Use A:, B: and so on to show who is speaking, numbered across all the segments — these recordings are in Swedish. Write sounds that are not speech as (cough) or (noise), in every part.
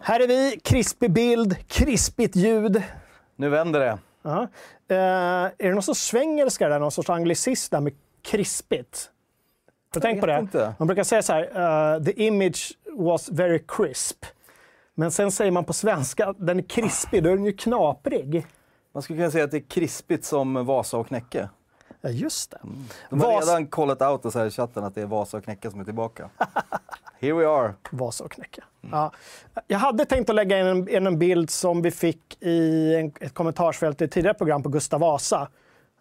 A: Här är vi, krispig bild, krispigt ljud.
B: Nu vänder det.
A: Ja. Eh, är det någon sorts svengelska där, någon sorts anglicism där med krispigt? Har du tänkt på
B: vet
A: det?
B: inte.
A: Man brukar säga så här, eh, the image was very crisp. Men sen säger man på svenska, den är krispig, då är den ju knaprig.
B: Man skulle kunna säga att det är krispigt som Vasa och Knäcke.
A: Ja, just det.
B: De har
A: Vas-
B: redan kollat out oss här i chatten att det är Vasa och Knäcke som
A: (laughs)
B: är tillbaka. Here we are.
A: Vasa och Knäcke. Ja. Jag hade tänkt att lägga in en, in en bild som vi fick i en, ett kommentarsfält i ett tidigare program på Gustav Vasa.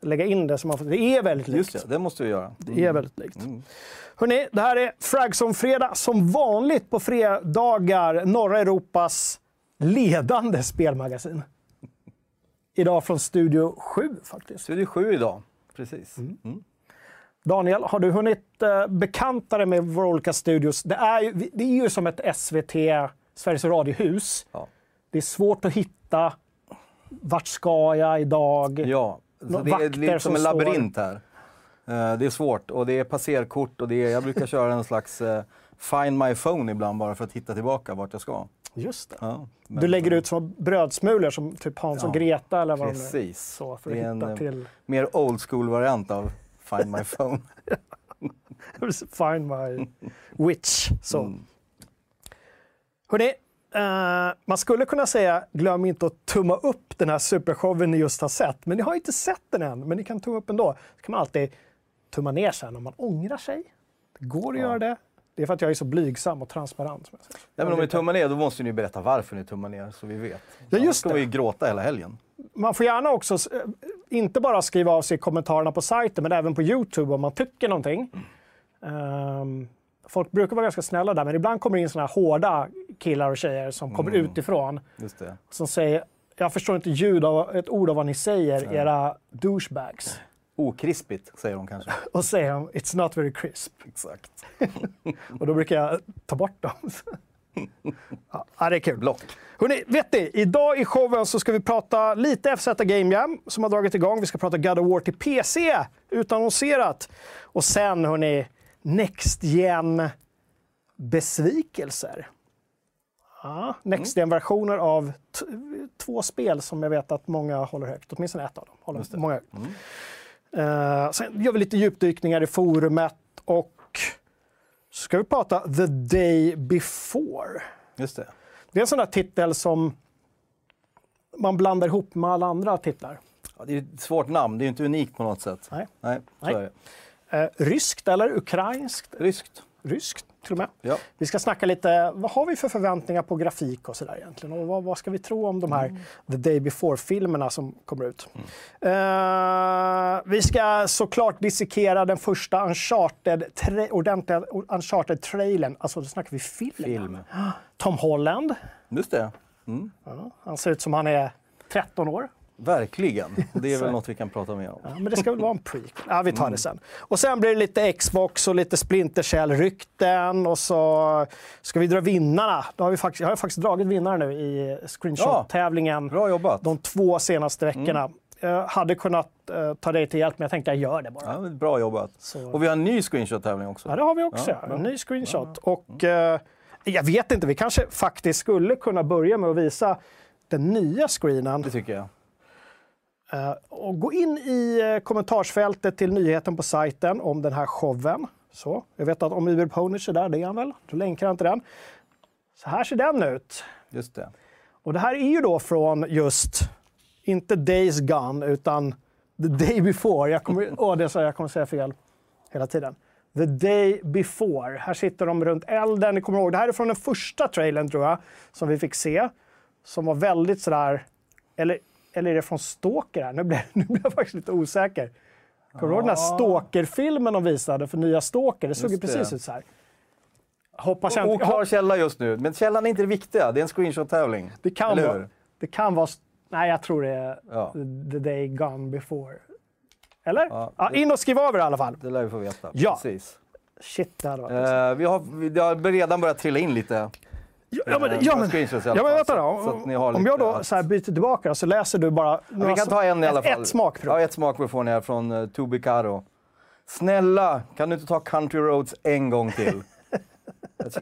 A: Lägga in det, som man får, det är väldigt likt.
B: Just det, det måste vi göra.
A: Det är väldigt likt.
B: Mm.
A: Hörrni, det här är Fragson-fredag. Som vanligt på fredagar, norra Europas ledande spelmagasin. Idag från Studio 7 faktiskt.
B: Studio 7 idag. Precis. Mm.
A: Daniel, har du hunnit eh, bekanta dig med våra olika studios? Det är ju, det är ju som ett SVT, Sveriges Radiohus.
B: Ja.
A: Det är svårt att hitta. Vart ska jag idag?
B: Ja, så
A: Nå-
B: det är
A: vakter
B: lite
A: som
B: som en labyrint här. Eh, Det är svårt och det är passerkort och det är, jag brukar köra en slags eh, find my phone ibland bara för att hitta tillbaka vart jag ska.
A: Just det.
B: Ja, men-
A: Du lägger ut som brödsmulor som typ Hans och
B: Ja,
A: Greta eller vad de nu-
B: Precis.
A: Så, för
B: det
A: att
B: är en
A: hitta
B: eh,
A: till
B: mer old school-variant av
A: (laughs)
B: find my phone.
A: Find my witch. Så.
B: Mm.
A: Hörrni, eh, man skulle kunna säga glöm inte att tumma upp den här supershowen ni just har sett. Men ni har ju inte sett den än, men ni kan tumma upp ändå. Så kan man alltid tumma ner sen om man ångrar sig. Det går att göra det. Det är för att jag är så blygsam och transparent. Som jag säger.
B: Nej, men om ni tummar ner, då måste ni ju berätta varför ni tummar ner så vi vet.
A: Ja,
B: Annars
A: just
B: ska
A: det.
B: vi ju gråta hela helgen.
A: Man får gärna också, eh, inte bara skriva av sig i kommentarerna på sajten, men även på Youtube om man tycker någonting. Ehm, folk brukar vara ganska snälla där, men ibland kommer det in såna här hårda killar och tjejer som kommer utifrån
B: Just det.
A: som säger jag förstår inte ljud av, ett ord av vad ni säger, era douchebags.
B: Okrispigt, säger de kanske.
A: Och säger de, it's not very crisp.
B: (laughs) Exakt.
A: Och då brukar jag ta bort dem. (laughs) ja, det är kul.
B: Block.
A: Hörrni, vet ni? Idag i showen så ska vi prata lite FZ Game Jam som har dragit igång. Vi ska prata God of War till PC, utannonserat. Och sen, hörni, Next Gen besvikelser. Ja, Next Gen-versioner av t- två spel som jag vet att många håller högt. Åtminstone ett av dem. Håller många högt. Eh, sen gör vi lite djupdykningar i forumet och så ska vi prata The Day Before.
B: Just det.
A: Det är en sån där titel som man blandar ihop med alla andra titlar.
B: Ja, det är ett svårt namn, det är ju inte unikt på något sätt.
A: Nej.
B: Nej, så
A: Nej.
B: är det.
A: Eh, ryskt eller ukrainskt?
B: Ryskt.
A: Ryskt till och med.
B: Ja.
A: Vi ska snacka lite, vad har vi för förväntningar på grafik och sådär egentligen? Och vad, vad ska vi tro om de här The Day Before-filmerna som kommer ut? Eh, vi ska såklart dissekera den första Uncharted, tre, ordentliga Uncharted-trailern. Alltså, då snackar vi filmen.
B: Film.
A: Tom Holland.
B: Just det. Mm.
A: Ja, han ser ut som han är 13 år.
B: Verkligen. Det
A: (laughs)
B: är väl något vi kan prata mer om.
A: Ja, men det ska väl vara en prequel. Ja, vi tar
B: Mm.
A: det sen. Och sen blir det lite Xbox och lite Splinter Cell-rykten och så ska vi dra vinnarna. Då har vi faktiskt, jag har faktiskt dragit vinnare nu i screenshot-tävlingen
B: Bra jobbat.
A: de två senaste veckorna.
B: Mm.
A: Jag hade kunnat eh, ta dig till hjälp, men jag tänkte jag gör det bara.
B: Ja, men bra jobbat.
A: Så-
B: Och vi har en ny screenshot-tävling också.
A: Ja, det har vi också.
B: Ja, bra.
A: en ny screenshot. Och eh, jag vet inte, vi kanske faktiskt skulle kunna börja med att visa den nya screenen.
B: Det tycker jag.
A: Eh, Och gå in i eh, kommentarsfältet till nyheten på sajten om den här showen. Så, jag vet att om Uber Ponish är där, det är han väl? Då länkar han till den. Så här ser den ut.
B: Just det.
A: Och det här är ju då från just, inte Days Gone, utan The Day Before. Jag kommer, (laughs) åh, det sa jag, jag kommer säga fel hela tiden. The Day Before. Här sitter de runt elden. Ni kommer ihåg, det här är från den första trailern tror jag, som vi fick se. Som var väldigt sådär, eller, eller är det från Stalker? Här? Nu blev, (laughs) nu blev jag faktiskt lite osäker. Kommer du ihåg den här Stalker-filmen de visade för nya Stalker? Det såg ju
B: Just
A: precis
B: det.
A: ut så här. Hoppas jag inte...
B: Oklar källa just nu, men källan är inte det viktiga. Det är en screenshot-tävling.
A: Det kan
B: Eller
A: vara...
B: hur?
A: Det kan vara... Nej, jag tror det är
B: Ja.
A: the day gone before. Eller? Ja,
B: Ja,
A: in och skriv över i alla fall.
B: Det lär vi få veta.
A: Ja.
B: Precis.
A: Shit, det hade varit...
B: Eh, vi har, vi, det har redan börjat trilla in lite.
A: ja, ja, men,
B: eh,
A: ja,
B: några
A: men,
B: screenshots i
A: ja,
B: alla
A: men
B: fall,
A: vänta
B: så-
A: då.
B: så att ni har
A: Om jag
B: lite
A: då
B: att-
A: så här byter tillbaka så läser du bara...
B: Ja, vi kan ta en i alla fall.
A: Ett smakprov.
B: Ja, ett smakprov ni här från
A: (laughs)
B: uh, Tobi Caro. Snälla, kan du inte ta Country Roads en gång till?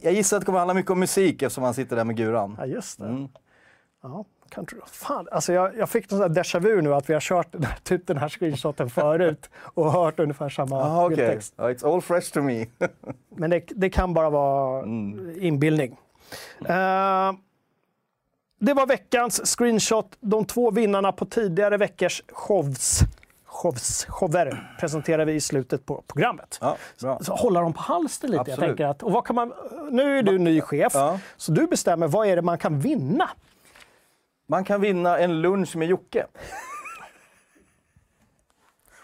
B: Jag gissar att det kommer handla mycket om musik eftersom han sitter där med guran.
A: Ja, just det.
B: Mm.
A: Ja, country rock. Fan, alltså jag, jag fick någon sån där déjà vu nu att vi har kört (laughs) den här, typ den här screenshoten förut och hört ungefär samma
B: Aha, Ah, okej.
A: bildtext.
B: Ja, It's all fresh to me. Mm.
A: Men det, det kan bara vara inbildning. Eh, det var veckans screenshot. De två vinnarna på tidigare veckors shows, shows shower presenterar vi i slutet på programmet.
B: Ja, bra.
A: Så hålla dem på halsen lite. Jag
B: Absolut.
A: tänker att, och vad kan man, nu är du ny chef,
B: Ja.
A: så du bestämmer vad är det man kan vinna.
B: Man kan vinna en lunch
A: (laughs)
B: med Jocke.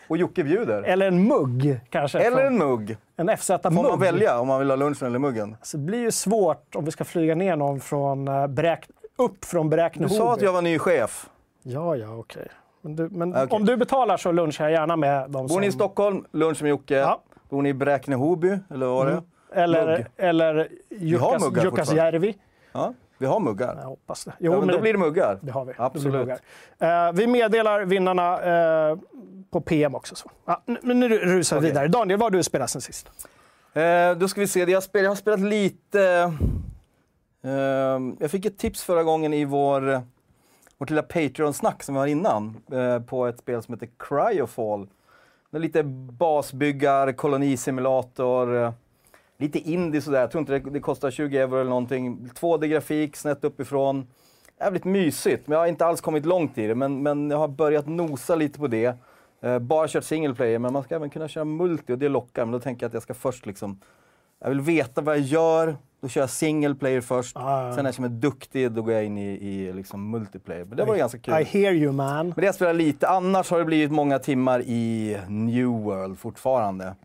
B: Och Jocke bjuder.
A: Eller en mugg kanske.
B: Eller
A: från-
B: en mugg.
A: En FZ-mugg.
B: Får man välja om man vill ha lunchen eller muggen?
A: Så det blir ju svårt om vi ska flyga ner någon från eh, Bräk, upp från
B: Du
A: Bräkne
B: sa att jag var ny chef.
A: Ja, ja, okej. Men, du, men
B: Okej.
A: om du betalar så lunchar jag gärna med de
B: Bor
A: som...
B: ni i Stockholm, lunch med Jocke.
A: Ja. Mm.
B: Bor ni i Bräkne-Hoby, eller vad var det? Mugg.
A: Eller, eller
B: har muggar
A: Jukas-
B: fortfarande.
A: Jukkasjärvi.
B: Ja, vi har muggar.
A: Jag hoppas det.
B: Ja,
A: Jo,
B: men då blir det muggar.
A: det har vi.
B: Absolut.
A: Det blir muggar. Eh, vi meddelar vinnarna eh, på PM också. Så. Ja, nu- men nu rusar vi
B: Okej.
A: vidare. Daniel, vad har du spelat sen sist?
B: Eh, då ska vi se. Jag, spel, jag har spelat lite... Eh, jag fick ett tips förra gången i vår, vårt lilla Patreon-snack som vi har innan eh, på ett spel som heter Cryofall. Det är lite basbyggar, kolonisimulator, eh, lite indie sådär. Jag tror inte det, det kostar 20 euro eller någonting. 2D-grafik, snett uppifrån. Jävligt mysigt, men jag har inte alls kommit långt i det. Men, men jag har börjat nosa lite på det. Eh, bara kört single player, men man ska även kunna köra multi och det lockar. Men då tänker jag att jag ska först liksom... Jag vill veta vad jag gör, då kör jag single player först.
A: Ah.
B: Sen när jag känner mig duktig, då går jag in i, i liksom multiplayer. Men det var ganska kul.
A: I hear you man.
B: Men det jag spelar lite. Annars har det blivit många timmar i New World fortfarande.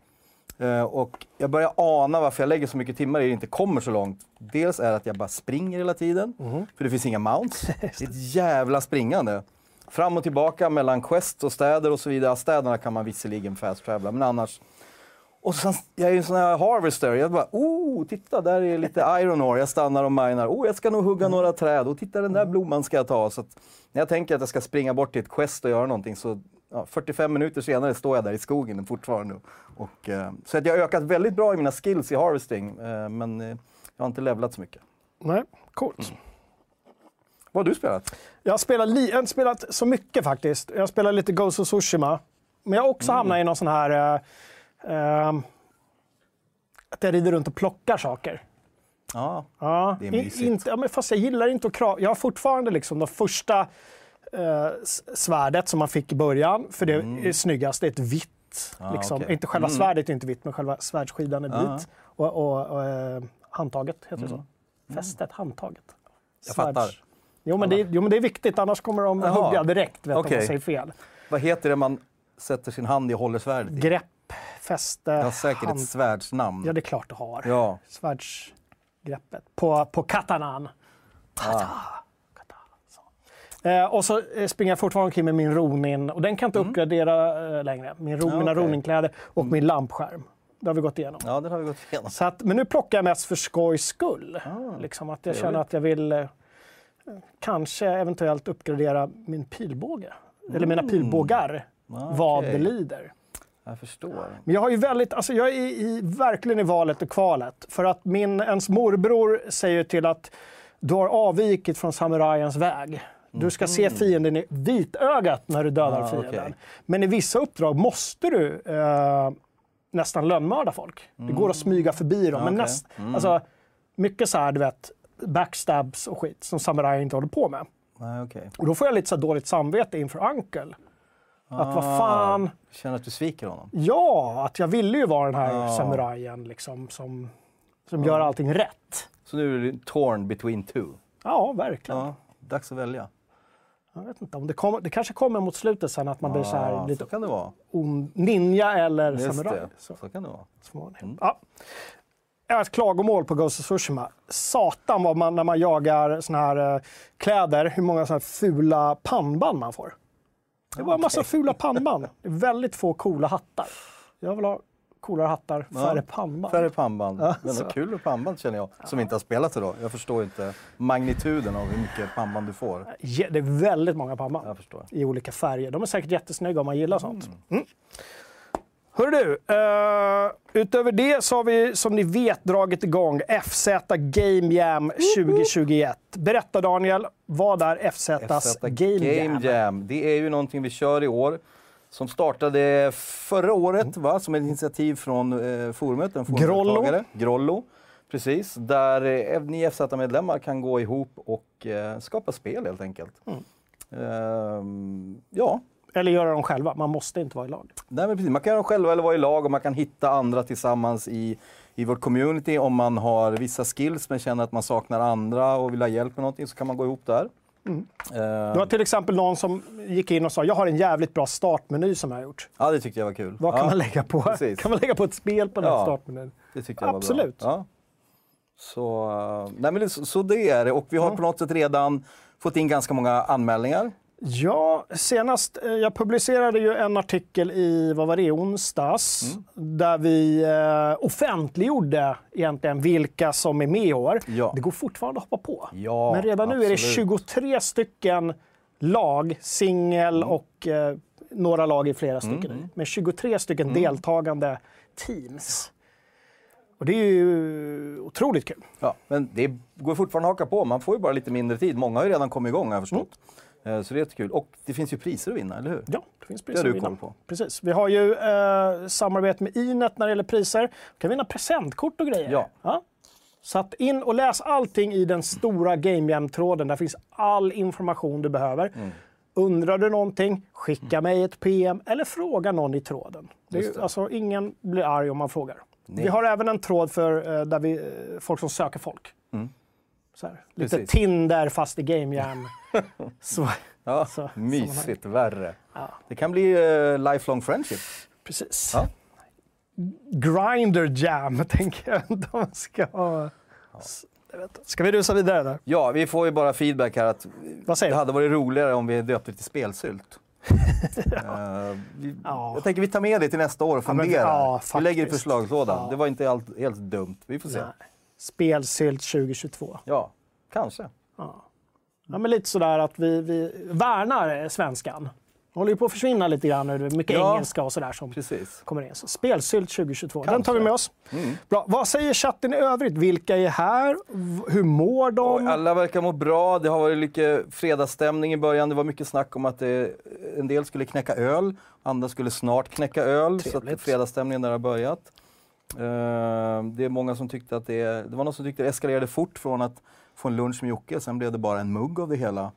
B: Eh, och jag börjar ana varför jag lägger så mycket timmar i det inte kommer så långt. Dels är att jag bara springer hela tiden, för det finns inga mounts. Det är ett jävla springande. Fram och tillbaka mellan quest och städer och så vidare. Städerna kan man visserligen fast travela, men annars och sen, jag är ju en sån här harvester. Jag bara, oh, titta där är lite iron ore. Jag stannar och minar. Oh, jag ska nog hugga några träd. Och titta den där blomman ska jag ta. Så att, när jag tänker att jag ska springa bort till ett quest och göra någonting så ja, 45 minuter senare står jag där i skogen fortfarande. Och, eh, så att jag har ökat väldigt bra i mina skills i harvesting. Eh, men eh, jag har inte levlat så mycket.
A: Nej, coolt.
B: Vad har du spelat?
A: Jag spelar li- jag har inte spelat så mycket faktiskt. Jag spelar lite Ghost of Tsushima. Men jag har
B: Mm.
A: också hamnat i någon sån här... eh, eh, att jag rider runt och plockar saker.
B: Ja,
A: Ja,
B: Det är
A: i-
B: mysigt.
A: inte, ja, men fast jag gillar inte att kra- Jag har fortfarande liksom de första eh, s- svärdet som man fick i början, för det är snyggast. Det är ett vitt.
B: Mm. Ah,
A: liksom.
B: okej.
A: Inte själva svärdet är inte vitt, men själva svärdsskidan är
B: Ah. Mm.
A: vit. Och, och, och eh, handtaget heter det så. Fästet, handtaget.
B: Jag fattar.
A: Jo men, det, är- jo, men det är viktigt, annars kommer de
B: Jaha.
A: hugga direkt vet, om
B: Okej.
A: man säger fel.
B: vad heter det man sätter sin hand i och håller svärdet i?
A: Grepp, fäste,
B: Jag har säkert
A: hand.
B: ett svärdsnamn.
A: Ja, det är klart du har.
B: Ja.
A: Svärdsgreppet. På, på katanan. Tata. Katana, så. Eh, och så eh, springer jag fortfarande omkring med min Ronin. Och den kan inte uppgradera eh, längre. Min, ro,
B: Mm. Ja,
A: Mina
B: okej. Mm.
A: Ronin-kläder och min lampskärm. Det har vi gått igenom.
B: ja, den har vi gått igenom.
A: Så att, men nu plockar jag mest för skojs skull.
B: Ah,
A: liksom att jag känner att jag vill eh, kanske eventuellt uppgradera min pilbåge. Eller mina pilbågar. Vad det
B: Mm. Ah, okej.
A: lider.
B: Jag förstår.
A: Men jag har ju väldigt, alltså jag är i, i, verkligen i valet och kvalet. För att min, ens morbror säger till att du har avvikit från samurajens väg. Du ska se fienden i vitögat när du dödar
B: Mm. Ah,
A: fienden.
B: okej.
A: Men i vissa uppdrag måste du eh, nästan lönnmörda folk. Det går att smyga förbi dem. men
B: Mm. Ah, okej. Mm.
A: näst, alltså, mycket så här, du vet, backstabs och skit som samurajer inte håller på med.
B: Nej, okej.
A: Och då får jag lite så här dåligt samvete inför Uncle. Att vad
B: Ah.
A: fan...
B: Jag känner att du sviker honom.
A: Ja, att jag ville ju vara den här
B: Ja.
A: samurajen liksom, som, som gör allting rätt.
B: Så nu är du torn between two.
A: Ja, verkligen.
B: Ja, dags att välja.
A: Jag vet inte, om det, kommer det kanske kommer mot slutet sen att man blir så här
B: Ja,
A: lite
B: Ah, så kan det vara.
A: ond, ninja eller
B: Just
A: samuraj.
B: det. Mm.
A: Så,
B: Så. kan det vara.
A: småningom. ja. Jag har ett klagomål på Ghost of Tsushima. Satan vad man, när man jagar såna här eh, kläder, hur många såna här fula pannband man får. Det var en massa
B: (laughs)
A: fula pannband. Det är väldigt få coola hattar. Jag vill ha coolare hattar, färre pannband.
B: Färre pannband. Men
A: så.
B: det är kul med pannband känner jag, som inte har spelat idag. Jag förstår inte magnituden av hur mycket pannband du får.
A: Ja, Det är väldigt många pannband
B: Jag förstår.
A: i olika färger. De är säkert jättesnygga om man gillar sånt. Mm. Hör Mm. du, eh, utöver det så har vi som ni vet dragit igång FZ Game Jam 2021. Berätta Daniel, vad är FZs
B: FZ
A: Game, Jam?
B: Det är ju någonting vi kör i år. Som startade förra året,
A: Mm.
B: va? som ett initiativ från eh, forumet. En forumdeltagare. Grollo. Precis, där eh, ni FZ-medlemmar kan gå ihop och eh, skapa spel helt enkelt.
A: Mm.
B: Ehm, ja,
A: Eller göra dem själva, man måste inte vara i lag.
B: Nej, men precis. Man kan göra dem själva eller vara i lag och man kan hitta andra tillsammans i, i vårt community. Om man har vissa skills men känner att man saknar andra och vill ha hjälp med någonting så kan man gå ihop där.
A: Mm.
B: Eh,
A: Det var till exempel någon som gick in och sa jag har en jävligt bra startmeny som jag har gjort.
B: ja, det tyckte jag var kul.
A: Vad
B: ja,
A: kan man lägga på?
B: precis.
A: Kan man lägga på ett spel på den här
B: Ja.
A: startmenyn?
B: det tyckte jag var
A: Absolut.
B: Bra. Ja. Så, eh, nej, men det, så, så det är det. Och vi har på något sätt redan fått in ganska många anmälningar.
A: Ja, senast eh, jag publicerade ju en artikel i, vad var det, onsdags,
B: Mm.
A: där vi eh, offentliggjorde egentligen vilka som är med i år.
B: Ja.
A: Det går fortfarande att hoppa på.
B: Ja,
A: Men redan nu är det
B: absolut.
A: 23 stycken lag, singel
B: Mm.
A: och eh, några lag i flera stycken. nu. Men 23 stycken
B: Mm.
A: deltagande teams. Och det är ju otroligt kul.
B: Ja, men det går fortfarande att haka på. Man får ju bara lite mindre tid. Många har ju redan kommit igång har jag förstått.
A: Mm.
B: Eh, Så det är jättekul. Och det finns ju priser att vinna, eller hur?
A: Ja, det finns
B: Det
A: priser
B: har
A: att
B: du
A: vinna.
B: koll på.
A: Precis. Vi har ju eh, samarbete med Inet när det gäller priser. Du kan vinna presentkort och grejer.
B: Ja.
A: Så att in och läs allting i den stora Game Jam-tråden. Där finns all information du behöver.
B: Mm.
A: Undrar du någonting, skicka mig ett PM eller fråga någon i tråden. Det är,
B: Just
A: ju- Alltså, ingen blir arg om man frågar.
B: Nej.
A: Vi har även en tråd för eh, där vi, eh, folk som söker folk. Så här, lite
B: Mm. Precis.
A: Tinder fast i Game
B: (laughs)
A: Jam. Så,
B: Ja,
A: Så-
B: mysigt. Värre.
A: Ja.
B: Det kan bli eh, lifelong friendship.
A: precis.
B: Ja.
A: Grinder Jam, (laughs) tänker jag inte om man ska ha. S- jag vet inte. Ska vi rusa vidare där?
B: ja, vi får ju bara feedback här att
A: Vad (laughs)
B: det
A: säger du?
B: hade varit roligare om vi döpte det till spelsylt. Eh, vi,
A: (laughs) Ja.
B: Jag tänker vi tar med det till nästa år och
A: men vi-
B: funderar.
A: ja,
B: vi lägger det i
A: faktiskt.
B: förslagslådan.
A: Ja.
B: Det var inte allt, helt dumt. Vi får se.
A: Nej. Spelsylt 2022.
B: Ja, kanske.
A: Ja. Ja, men lite sådär att vi, vi värnar eh, svenskan. Det håller ju på att försvinna lite grann nu. Det är mycket
B: Ja.
A: engelska och sådär som
B: Precis. Mm.
A: kommer in. Så spelsylt 2022, den
B: Kanske.
A: tar vi med oss. Bra. Vad säger chatten i övrigt? Vilka är här? V- Hur mår de?
B: Och alla verkar må bra. Det har varit mycket fredagsstämning i början. Det var mycket snack om att eh, en del skulle knäcka öl, andra skulle snart knäcka öl. Så att
A: Trevligt.
B: fredagsstämningen där har börjat. Eh, det är många som tyckte att det... Det var någon som tyckte det eskalerade fort från att få en lunch med Jocke, sen blev det bara en mugg av det hela.
A: (laughs)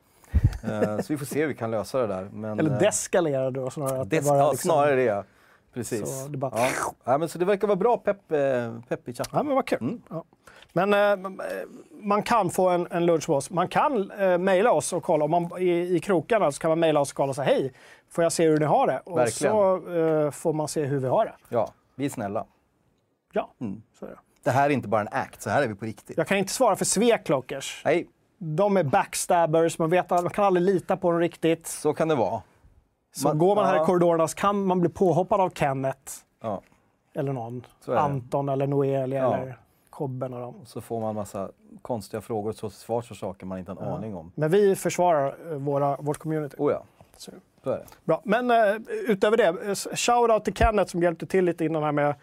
B: Eh, så vi får se hur vi kan lösa det där. Men,
A: Eller
B: eh,
A: deskalerade då snarare? att det
B: Des-
A: bara
B: ja,
A: liksom-
B: snarare det. ja. Precis.
A: Så det bara-
B: ja. Ja, men så det verkar vara bra pepp, eh, pepp i chatten.
A: Ja, men vad kul.
B: Mm.
A: Ja. Men eh, man kan få en, en lunch med oss. Man kan eh, mejla oss och kolla. Om man, i, I krokarna så kan man mejla oss och kolla och säga hej, får jag se hur ni har det? Och
B: Verkligen.
A: så eh, får man se hur vi har det.
B: Ja, vi är snälla. Mm.
A: Ja, så är det.
B: Det här är inte bara en act, så här är vi på riktigt.
A: Jag kan inte svara för Sveklockers.
B: Nej,
A: De är backstabbers, man, vet, all- man kan aldrig lita på dem riktigt.
B: så kan det vara.
A: Så
B: Man-
A: går man här
B: ja.
A: i korridorerna så kan man bli påhoppad av Kenneth
B: Ja,
A: eller någon.
B: Så är det.
A: Anton eller Noelia
B: Ja.
A: eller Kobben och dem.
B: så får man massa konstiga frågor och så svar för saker man inte har en aning om.
A: Men vi försvarar eh, våra, vårt community.
B: Oh ja,
A: Så.
B: så är det.
A: Bra, men eh, utöver det, eh, shoutout till Kenneth som hjälpte till lite innan här med eh,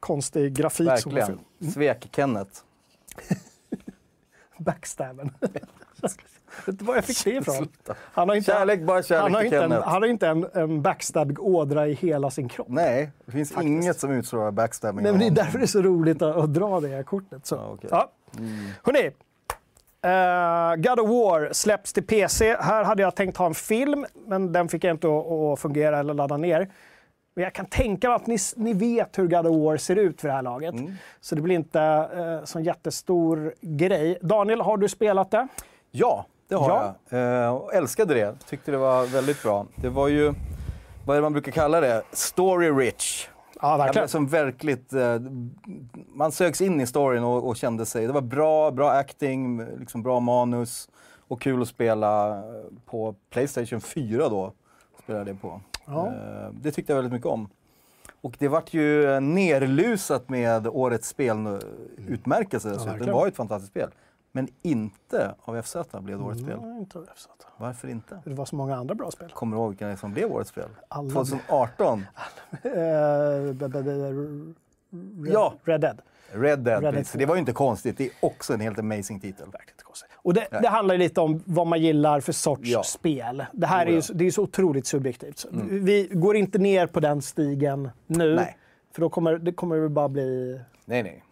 A: konstig grafik. som Mm. var
B: Verkligen. Svek-Kenneth.
A: för- Backstabben. (laughs) det var jag fick det ifrån.
B: Sluta.
A: Han har inte,
B: Kärlek, bara
A: han har
B: kärlek till
A: inte, en,
B: Kenneth.
A: han har inte en, en backstab-ådra i hela sin kropp. Nej,
B: Nej, det finns inget som utstrålar backstabbing.
A: men det är
B: av
A: därför det är så roligt att, att dra det här kortet. Så.
B: Ja, okej.
A: ja.
B: Mm.
A: Hörrni, eh, God of War släpps till PC. Här hade jag tänkt ha en film, men den fick jag inte att, att fungera eller ladda ner. Men jag kan tänka mig att ni, ni vet hur God of War ser ut för det här laget.
B: Mm.
A: Så det blir inte eh, sån jättestor grej. Daniel, har du spelat det?
B: Ja, det har
A: Ja.
B: jag. Eh, och älskade det. Tyckte det var väldigt bra. Det var ju, vad är det man brukar kalla det? Story rich.
A: Ja,
B: Jag blev
A: verkligen.
B: som verkligt... eh, Man sögs in i storyn och, och kände sig... Det var bra, bra acting, liksom bra manus och kul att spela eh, på Playstation 4 då. Spelade det på.
A: Ja.
B: Eh, Det tyckte jag väldigt mycket om. Och det vart ju nerlusat med årets spelutmärkelse. dessutom. det
A: verkligen.
B: var ju ett fantastiskt spel. Men inte av FZ blev det årets spel.
A: Nej, inte Refsat.
B: Varför inte?
A: Det var så många andra bra spel.
B: Kommer du ihåg vilka det är som blev årets spel?
A: Alla-
B: 2018?
A: Eh, b- b- b- r- Red,
B: Ja.
A: Red Dead.
B: Red Dead.
A: Dead
B: precis.
A: 2.
B: Det var ju inte konstigt. Det är också en helt amazing titel.
A: Verkligt konstigt. Och det, det handlar ju lite om vad man gillar för sorts
B: Ja.
A: spel. Det här
B: Jo,
A: är ju
B: ja. Mm.
A: så- det är ju så otroligt subjektivt. Så Vi går inte ner på den stigen nu.
B: Nej.
A: För då kommer det kommer det bara bli...
B: Nej, nej.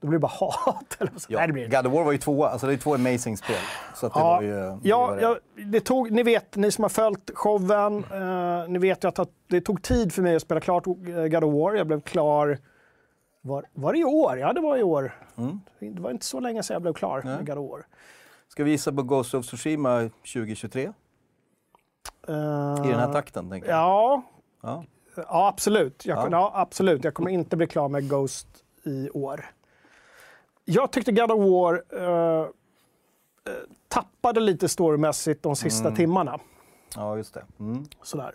A: Då blir det bara (laughs) hat. Eller så.
B: Ja.
A: Nej, det blir det inte.
B: God of War var ju tvåa. Alltså det är två amazing spel. Så att det
A: Ja,
B: var ju... eh, det var
A: ja,
B: det.
A: ja, det tog, ni vet, ni som har följt showen, eh, ni vet ju att det tog tid för mig att spela klart eh, God of War. Jag blev klar, var, var det i år? Ja, det var i år.
B: Mm.
A: Det var inte så länge sedan jag blev klar med God of War.
B: Ska vi gissa på Ghost of Tsushima 2023?
A: Eh,
B: I den här takten, tänker jag.
A: Ja,
B: Ja.
A: ja, absolut. Jag,
B: Ja.
A: ja. Ja, absolut. jag kommer inte bli klar med Ghost i år. Jag tyckte God of War eh, eh, tappade lite storymässigt de sista timmarna.
B: ja, just det. Mm.
A: Sådär.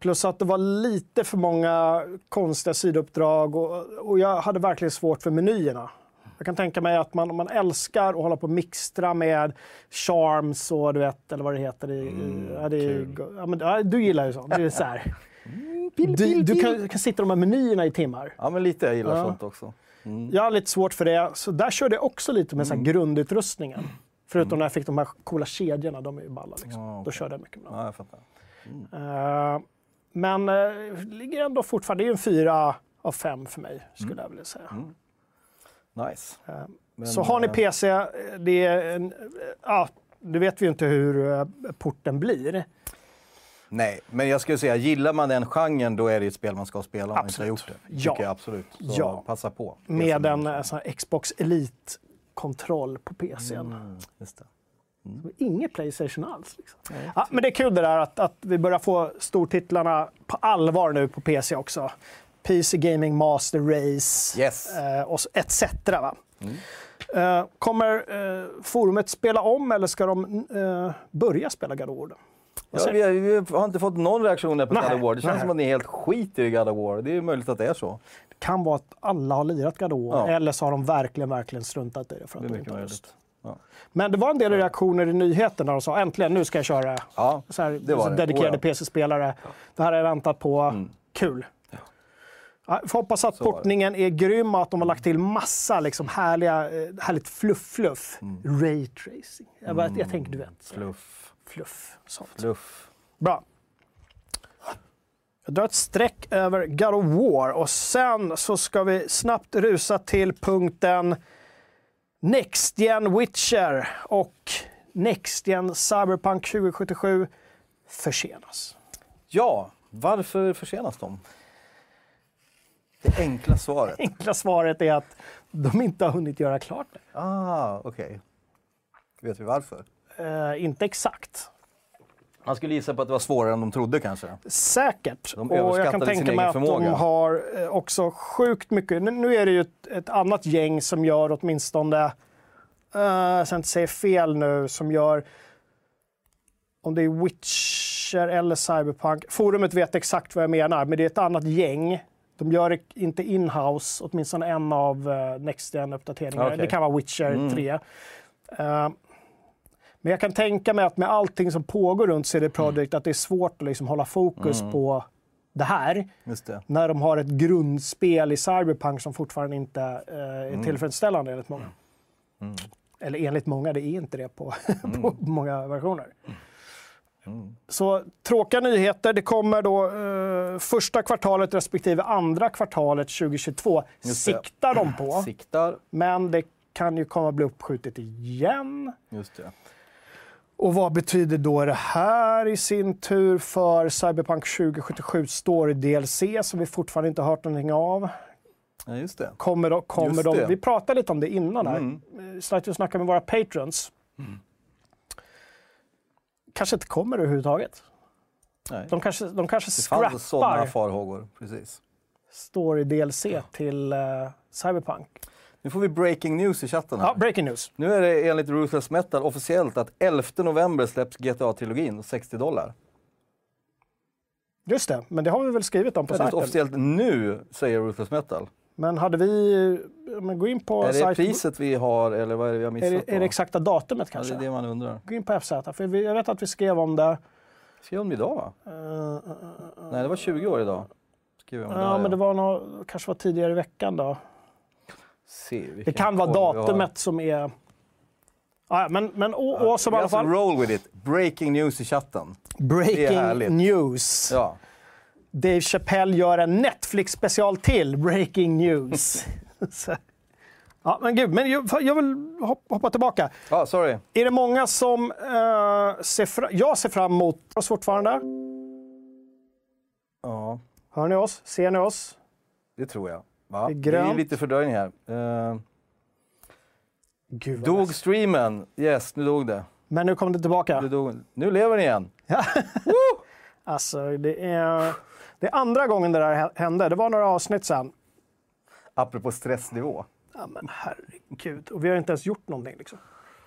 A: Plus att det var lite för många konstiga sidouppdrag och, och jag hade verkligen svårt för menyerna. Jag kan tänka mig att man, om man älskar att hålla på och mixtra med charms och du vet, eller vad det heter. I,
B: Mm,
A: i, ja, det är, ju go- ja, men, ja, du gillar ju sånt. Det är så här.
B: Mm.
A: Du, du kan, kan sitta i de här menyerna i timmar.
B: Ja, men lite. Jag gillar
A: Ja.
B: sånt också. Mm.
A: Jag har lite svårt för det, så där körde jag också lite med så här grundutrustningen.
B: Mm.
A: Förutom när jag fick de här coola kedjorna, de är ju balla. Liksom.
B: Ja,
A: Då
B: Ah, okej.
A: körde jag mycket med dem.
B: Ja, jag fattar.
A: Eh, men eh, ligger ändå fortfarande, det är en fyra av fem för
B: Mm.
A: mig skulle jag vilja säga.
B: Nice. Mm. Men,
A: Så har ni
B: eh,
A: PC, eh, det är en, eh, ja, nu vet vi ju inte hur eh, porten blir.
B: Nej, men jag skulle säga, gillar man den genren då är det ju ett spel man ska spela om man inte har
A: Absolut.
B: gjort det.
A: Ja.
B: Tycker jag absolut. Så
A: Ja.
B: passa på. Det är
A: Med en
B: som-
A: eh, sån här Xbox Elite-kontroll på PCn.
B: Mm, just det.
A: Inget Playstation alls. Liksom. Ja, men det är kul det där att, att vi börjar få stortitlarna på allvar nu på PC också. PC Gaming Master Race
B: Yes. Mm.
A: eh, och så- etc. Va? Eh, kommer eh, forumet spela om eller ska de eh, börja spela God of War? då? Vad
B: Ja,
A: säger
B: vi, har, vi har inte fått någon reaktion där på
A: Nej,
B: God of War. Det känns
A: nej.
B: som att ni helt skiter i God of War. Det är ju möjligt att det är så.
A: Det kan vara att alla har lirat God of War
B: Ja.
A: eller så har de verkligen, verkligen struntat i det för att
B: Det är
A: de
B: mycket
A: inte har lust.
B: möjligt. Ja,
A: Men det var en del reaktioner i nyheterna de sa äntligen, nu ska jag köra
B: ja.
A: så här,
B: Det var
A: så
B: det.
A: dedikerade
B: Oh, ja. Mm.
A: PC-spelare. Det här har jag väntat på. Kul. Ja. Jag får hoppas att
B: Så var det.
A: portningen är grym och att de har lagt till massa liksom härliga, eh, härligt fluff-fluff. Raytracing. Jag, bara, jag tänker, du vet, så här,
B: Mm. fluff.
A: fluff. Sånt.
B: Fluff.
A: Bra. Jag drar ett streck över God of War och sen så ska vi snabbt rusa till punkten Next Gen Witcher och Next Gen Cyberpunk 2077 försenas. (laughs)
B: Ja, varför försenas de? Det
A: (laughs)
B: enkla svaret.
A: Enkla svaret är att de inte har hunnit göra klart det.
B: Ah, okej. Vet vi varför?
A: Eh, inte exakt.
B: Man skulle gissa på att det var svårare än de trodde kanske.
A: Säkert.
B: De
A: och jag kan
B: överskattade sin
A: tänka
B: egen
A: mig att
B: förmåga.
A: de har eh, också sjukt mycket. Nu- Nu är det ju ett, ett annat gäng som gör åtminstone, eh, så jag inte säger fel nu, som gör, om det är Witcher eller Cyberpunk, forumet vet exakt vad jag menar, men det är ett annat gäng. De gör det inte in-house, åtminstone en av eh, Next gen uppdateringarna
B: Okej.
A: Det kan vara Witcher
B: Mm.
A: 3. Eh, men jag kan tänka mig att med allting som pågår runt
B: Mm.
A: CD Projekt att det är svårt att liksom hålla fokus på det här
B: Just det.
A: när de har ett grundspel i Cyberpunk som fortfarande inte eh, är
B: Mm.
A: tillfredsställande enligt många. Eller enligt många, det är inte det på, (laughs) på
B: Mm.
A: många versioner. Så tråkiga nyheter. Det kommer då eh, första kvartalet respektive andra kvartalet 2022
B: Just det.
A: siktar de
B: (clears throat)
A: på.
B: Siktar.
A: Men det kan ju komma att bli uppskjutet igen.
B: Just det.
A: Och vad betyder då det här i sin tur för Cyberpunk 2077 Story DLC som vi fortfarande inte hört någonting av?
B: Ja, just det.
A: Kommer då, kommer
B: Just
A: de,
B: det. Mm.
A: vi pratade lite om det innan här. Eh, Satt och snackade med våra patrons. Kanske inte kommer överhuvudtaget.
B: Nej.
A: De kanske, de kanske
B: Det fanns sådana
A: scrappar
B: farhågor. Precis.
A: Story DLC till eh, Cyberpunk.
B: Nu får vi breaking news i chatten här.
A: Ja, breaking news.
B: nu är det enligt Ruthless Metal officiellt att 11 november släpps GTA-trilogin, 60 dollar.
A: Just det, men det har vi väl skrivit om på
B: Det är
A: sajten?
B: officiellt nu, säger Ruthless Metal.
A: Men hade vi... Men gå in på
B: Är det
A: sajten-
B: priset vi har eller vad är det vi har
A: Är
B: missat?
A: det, är det
B: då?
A: exakta datumet
B: ja, det
A: kanske?
B: är det man undrar.
A: Gå in på FZ, för vi, jag vet att vi skrev om det.
B: Skrev de idag va?
A: Eh, eh, eh,
B: Nej, det var 20 år idag. Skrev jag om
A: ja,
B: där,
A: men det var nog, kanske var tidigare i veckan då.
B: Se,
A: Det
B: vilken
A: kan vara
B: koll vi har.
A: datumet som är... Ja, ja, men men å, å, som i
B: Vi
A: alla
B: alltså
A: fall...
B: roll with it. Breaking news i chatten. Det är härligt.
A: Breaking news.
B: Ja.
A: Dave Chappelle gör en Netflix-special till, Breaking
B: (laughs)
A: news. (laughs) Så. Ja, men gud, men jag, jag vill hop- hoppa tillbaka.
B: Ja, sorry.
A: Är det många som eh, ser fram... Jag ser fram emot oss fortfarande.
B: Ja,
A: Hör ni oss? Ser ni oss?
B: det tror jag. Va?
A: Det är
B: Det är
A: grönt.
B: lite fördröjning här. Eh,
A: Gud, vad
B: dog
A: ledsen.
B: streamen? Yes, nu dog det.
A: Men nu kom det tillbaka.
B: Nu, dog... nu lever den igen.
A: Alltså, det är, det är andra gången det där hände. Det var några avsnitt sen.
B: Apropå stressnivå.
A: Ja, men herregud. Och vi har inte ens gjort någonting. Liksom.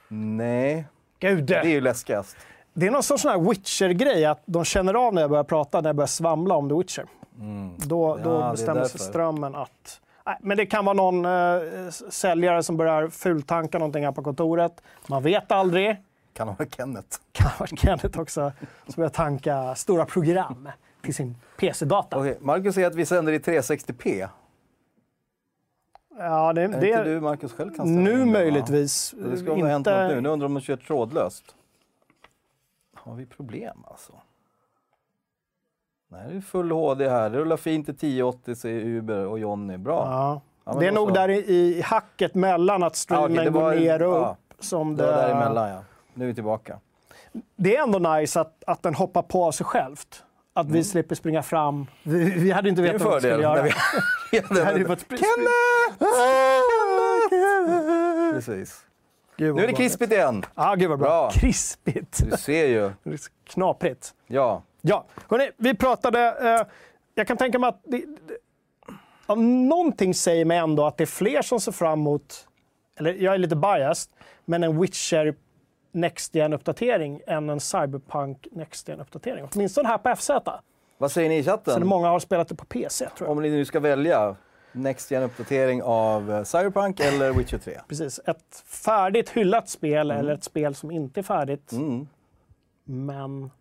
B: Nej,
A: Gud!
B: det är ju läskigast.
A: Det är någon sorts sån här Witcher-grej, att de känner av när jag börjar prata, när jag börjar svamla om The Witcher.
B: Mm.
A: Då,
B: Ja, det
A: då
B: är
A: bestämmer sig
B: därför.
A: strömmen att... Nej, men det kan vara någon eh, s- säljare som börjar fultanka någonting här på kontoret. Man vet aldrig.
B: Kan ha varit Kenneth.
A: Kan ha varit Kenneth också, som börjar tanka stora program till sin PC-data.
B: Okej, Marcus säger att vi sänder i 360p.
A: Ja, det,
B: Är
A: det
B: det
A: är
B: inte du, Marcus, själv kan ställa
A: nu
B: in va?
A: möjligtvis.
B: Det ska inte... ha hänt något nu. Nu undrar de om de kör trådlöst. Har vi problem alltså? Nej, det är full HD här. Det rullar fint i 1080 säger Uber och Jonny. Bra.
A: Ja.
B: Ja, men
A: det är
B: då
A: nog
B: så.
A: där i, i hacket mellan att
B: Ja,
A: streamen
B: okej, det
A: går
B: var-
A: ner och
B: ja.
A: upp. Som
B: Det
A: det,
B: var däremellan ja. Nu är vi tillbaka.
A: det är ändå nice att, att den hoppar på av sig självt. Att vi slipper springa fram. Vi, vi hade inte
B: Mm. Det är
A: vetat
B: en
A: vad vi
B: fördel. (laughs)
A: skulle göra. (laughs)
B: När vi...
A: Det hade ju varit spring- (laughs)
B: Kenneth! Precis.
A: Gud,
B: Nu
A: vad
B: är det
A: bra.
B: krispigt igen.
A: Ja, gud vad bra.
B: Bra.
A: Krispigt.
B: Du ser ju.
A: Knaprigt.
B: Ja.
A: Ja, hörni, vi pratade... Eh, jag kan tänka mig att... Det, det, ja, någonting säger mig ändå att det är fler som ser fram emot... Eller jag är lite biased, men en Witcher Next Gen-uppdatering än en Cyberpunk Next Gen-uppdatering. Åtminstone här på FZ. Sen
B: Vad säger ni i chatten?
A: många har spelat det på PC, tror jag.
B: Om ni nu ska välja Next Gen uppdatering av eh, Cyberpunk eller Witcher 3?
A: Precis. Ett färdigt hyllat spel eller ett spel som inte är färdigt,
B: Mm.
A: men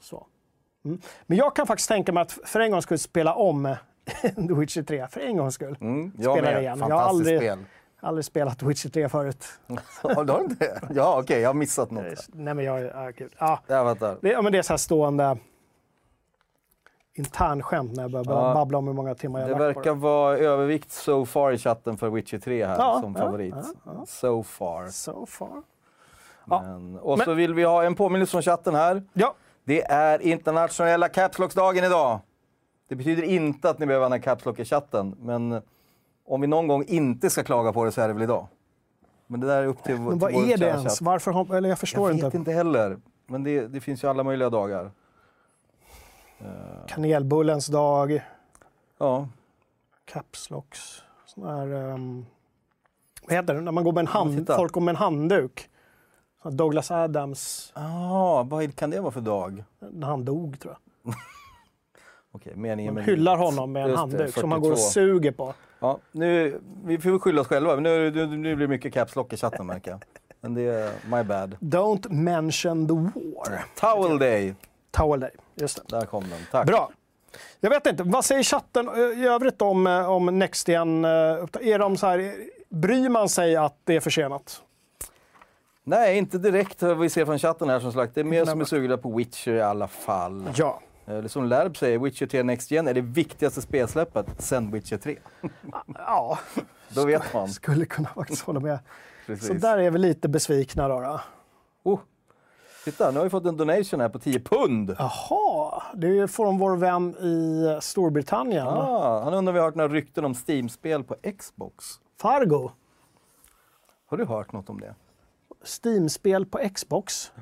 A: så. Mm. Men jag kan faktiskt tänka mig att för en gång skulle spela om (laughs) The Witcher 3. För en gångs skull.
B: Mm. Jag
A: Spelar
B: med.
A: igen. Jag har
B: Fantastiskt
A: aldrig- (laughs)
B: spel.
A: aldrig spelat Witcher 3 förut.
B: Har du inte det? Ja, okej, jag har missat något. här.
A: Nej, men jag... Ja, gud. Ja,
B: Ja, vänta.
A: det, ja, men det är så här stående internskämt när jag börjar
B: Ja.
A: babbla om hur många timmar jag
B: Det
A: har lagt på
B: verkar vara övervikt so far i chatten för Witcher 3 här
A: Ja,
B: som
A: ja,
B: favorit. So far.
A: det. So far. Ja.
B: Men, och så
A: Men-
B: vill vi ha en påminnelse från chatten här.
A: Ja,
B: Det är internationella Caps Lock-dagen idag. Det betyder inte att ni behöver använda Caps Lock i chatten, men om vi någon gång inte ska klaga på det så är det väl idag. Men det där är upp till vår
A: men vad
B: till vår
A: är det
B: kära
A: ens?
B: chatt.
A: Varför har, eller jag förstår
B: Jag vet
A: inte.
B: inte, heller. Men det, det finns ju alla möjliga dagar. Eh,
A: Kanelbullens dag,
B: ja,
A: Caps Locks, sån här... ehm, vad heter det? När man går med en hand,
B: titta.
A: folk går med en handduk. Så här Douglas Adams,
B: ah, vad kan det vara för dag?
A: när han dog tror jag.
B: Okej,
A: Man
B: meningen med
A: hyllar
B: livet.
A: honom med en
B: Just det,
A: handduk som han går och
B: 42.
A: suger på.
B: Ja, nu, vi får skylla oss själva, men nu, nu, nu blir det mycket caps lock i chatten märker jag. Men det är
A: (laughs)
B: my bad.
A: Don't mention the war.
B: Towel day!
A: Towel Day, just det.
B: Där kom den, tack.
A: Bra. Jag vet inte, vad säger chatten eh, i övrigt om, eh, om NextGen? eh, uppda- Är de så här, eh, bryr man sig att det är försenat?
B: Nej, inte direkt vad vi ser från chatten här som sagt. Det är mer
A: Inte
B: som är
A: nämnvärt.
B: sugna på Witcher i alla fall.
A: Ja.
B: Eller som Lärb säger, Witcher 3 Next Gen är det viktigaste spelsläppet sen Witcher 3.
A: Ja, (laughs)
B: Då vet man.
A: skulle kunna faktiskt hålla med.
B: Precis.
A: Så där är vi lite besvikna då. då.
B: Oh. Titta, nu har vi fått en donation här på 10 pund.
A: Jaha, det är ju från vår vän i Storbritannien,
B: Ah, han undrar om vi har hört några rykten om Steam-spel på Xbox.
A: Fargo.
B: Har du hört något om det?
A: Steam-spel på Xbox.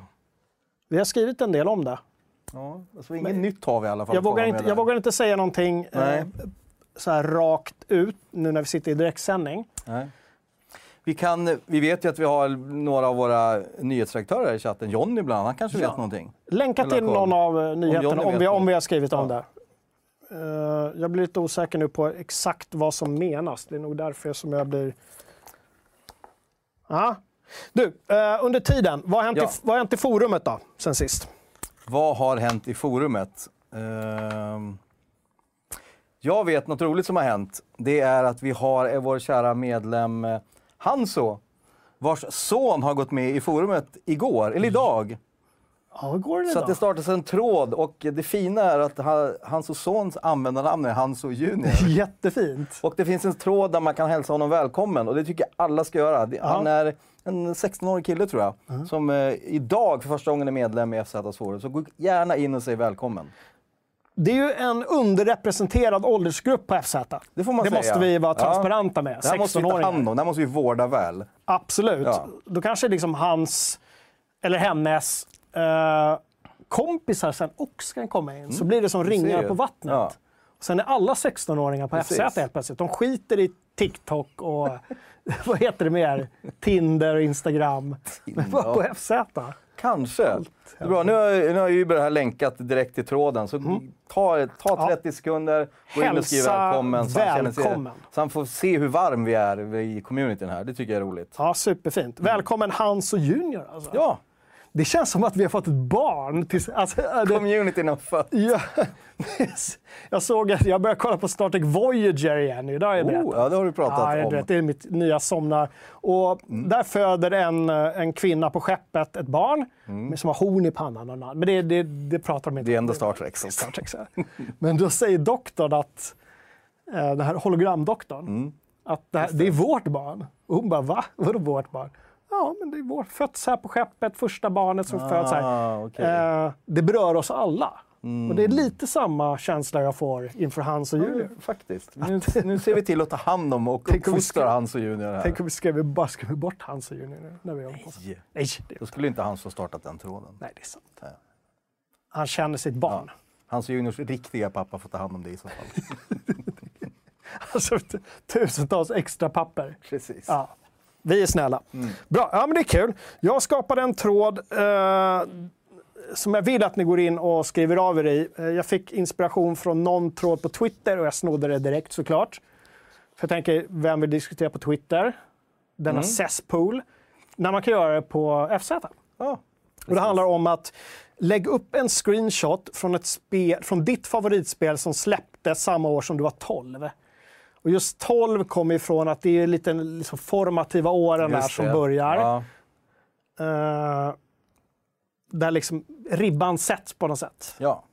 A: Vi har skrivit en del om det.
B: Ja, alltså inget nytt har vi i alla fall.
A: Jag
B: att komma
A: vågar,
B: med
A: inte,
B: där.
A: jag vågar inte säga någonting eh,
B: Nej.
A: så här rakt ut nu när vi sitter i direktsändning.
B: Nej. Vi, kan, vi vet ju att vi har några av våra nyhetsredaktörer här i chatten. Jonny bland annat, han kanske
A: Ja.
B: vet någonting.
A: Länka
B: Eller
A: till
B: koll.
A: någon av eh, nyheterna
B: Johnny
A: om,
B: vet
A: vi,
B: något.
A: om vi har skrivit om
B: Ja.
A: det. Eh, jag blir lite osäker nu på exakt vad som menas. Det är nog därför som jag blir... Ja. Du, eh, under tiden, vad har hänt,
B: Ja.
A: i, vad har hänt i forumet då, sen sist?
B: Vad har hänt i forumet? Ehm, jag vet något roligt som har hänt. Det är att vi har eh, vår kära medlem eh, Hanso, vars son har gått med i forumet igår, eller idag.
A: Ja, hur går det
B: Så att det
A: idag?
B: startas en tråd och det fina är att ha- Hanso Sons användarnamn är Hanso Junior.
A: Jättefint.
B: Och det finns en tråd där man kan hälsa honom välkommen och det tycker jag alla ska göra. Det- Han är en 16-årig kille tror jag, som eh, idag för första gången är medlem i FZs forum. Så gå gärna in och säg välkommen.
A: Det är ju en underrepresenterad åldersgrupp på FZ.
B: Det får man säga.
A: måste vi vara
B: Ja.
A: transparenta med.
B: Det här måste vi ta
A: 16-åringar.
B: hand om, det här måste vi vårda väl.
A: Absolut.
B: Ja.
A: Då kanske liksom hans, eller hennes, eh, kompisar sen också kan komma in. Så blir det som ringar
B: Mm. ser.
A: på vattnet.
B: Ja.
A: Sen är alla 16-åringar på
B: Precis.
A: FZ helt plötsligt. De skiter i TikTok och (laughs) vad heter det mer? Tinder och Instagram. (laughs) Men bara på FZ.
B: Kanske. Det är bra. Nu har, nu har Uber här länkat direkt till tråden, så ta, ta 30 sekunder, gå in och skriv
A: Mm. Hälsa
B: välkommen. Så han, känner
A: välkommen.
B: sig, så han får se hur varm vi är i communityn här. Det tycker jag är roligt.
A: Ja, superfint. Välkommen Hans och Junior. Alltså.
B: Mm. Ja,
A: Det känns som att vi har fått ett barn. Till, alltså, det,
B: communityn har fött.
A: Ja, (laughs) precis. jag såg att jag började kolla på Star Trek Voyager igen. Det har jag berättat.
B: Oh, ja, det har du pratat
A: ja, jag
B: om. Mm.
A: vet, det är mitt nya somnar. Och Där föder en, eh, en kvinna på skeppet ett barn
B: Mm.
A: med- som har horn i pannan. Och namn. Men det, det, det pratar de inte
B: Det är
A: om.
B: ändå Star Trek. Så.
A: Star Trek, så här. Men då säger doktorn att, eh, den här hologramdoktorn,
B: Mm.
A: att det, här, det är vårt barn. Och hon bara, va? Vadå vårt barn? Ja, men det är vårt, fötts här på skeppet, första barnet som föds här.
B: Ah, okej. Mm.
A: Eh, det berör oss alla. Och det är lite samma känsla jag får inför Hans och Julia.
B: Faktiskt. Nu, nu ser vi till att ta hand om och
A: Tänk om vi
B: uppfostra
A: ska-
B: Hans och Junior här.
A: Tänk om vi skrev, bara skrev bort Hans och Julia nu när vi håller på så.
B: Yeah.
A: Nej, det,
B: Då skulle inte Hans ha startat den tråden.
A: nej, det är sant.
B: Ja.
A: Han känner sitt barn.
B: Hans och Juniors riktiga pappa får ta hand om det i
A: (laughs)
B: så fall.
A: Alltså, t- tusentals extra papper.
B: Precis.
A: Ja. Vi är snälla. Bra, ja, men det är kul. Jag skapade en tråd eh, som jag vill att ni går in och skriver av er i. Eh, jag fick inspiration från någon tråd på Twitter och jag snodde det direkt såklart. För jag tänker, vem vill diskutera på Twitter? Denna cesspool. När man kan göra det på FZ.
B: Ja.
A: Och det handlar om att lägg upp en screenshot från, ett spel, från ditt favoritspel som släpptes samma år som du var 12. Och just 12 kommer ifrån att det är lite liksom formativa åren där
B: Just
A: som
B: det.
A: börjar.
B: Ja.
A: Eh, där liksom ribban sätts på något sätt.
B: ja.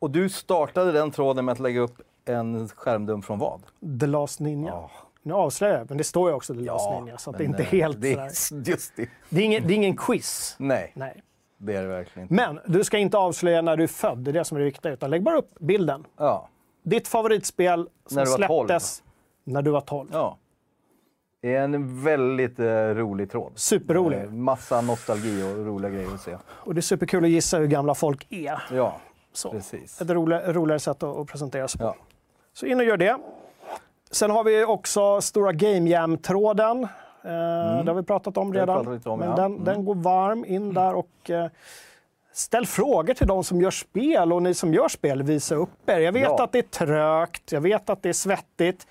B: Och du startade den tråden med att lägga upp en skärmdump från vad?
A: The Last Ninja. Nu avslöjar jag, men det står ju också The Last Ninja, så att det är
B: men,
A: inte
B: eh,
A: helt
B: det,
A: sådär.
B: är- Just det.
A: Det är ingen, det är ingen quiz.
B: Nej,
A: Nej.
B: det är det verkligen inte.
A: Men du ska inte avslöja när du är född, det är det som är det viktiga, utan lägg bara upp bilden.
B: Ja.
A: Ditt favoritspel som
B: När du var
A: släpptes när du var 12.
B: ja. Det är en väldigt eh, rolig tråd.
A: Superrolig.
B: Eh, Massa nostalgi och roliga grejer att se.
A: Och det är superkul att gissa hur gamla folk är.
B: Ja,
A: Så.
B: precis.
A: Ett roligare, roligare sätt att, att presentera sig på.
B: Ja.
A: Så in och gör det. Sen har vi också Stora Game Jam-tråden. Eh, Det har vi pratat om
B: Mm. Det har
A: redan.
B: vi pratat lite om,
A: Men
B: ja.
A: den,
B: Mm.
A: den går varm in där och eh, ställ frågor till de som gör spel och ni som gör spel, visa upp er. Jag vet
B: Ja.
A: att det är trögt, jag vet att det är svettigt.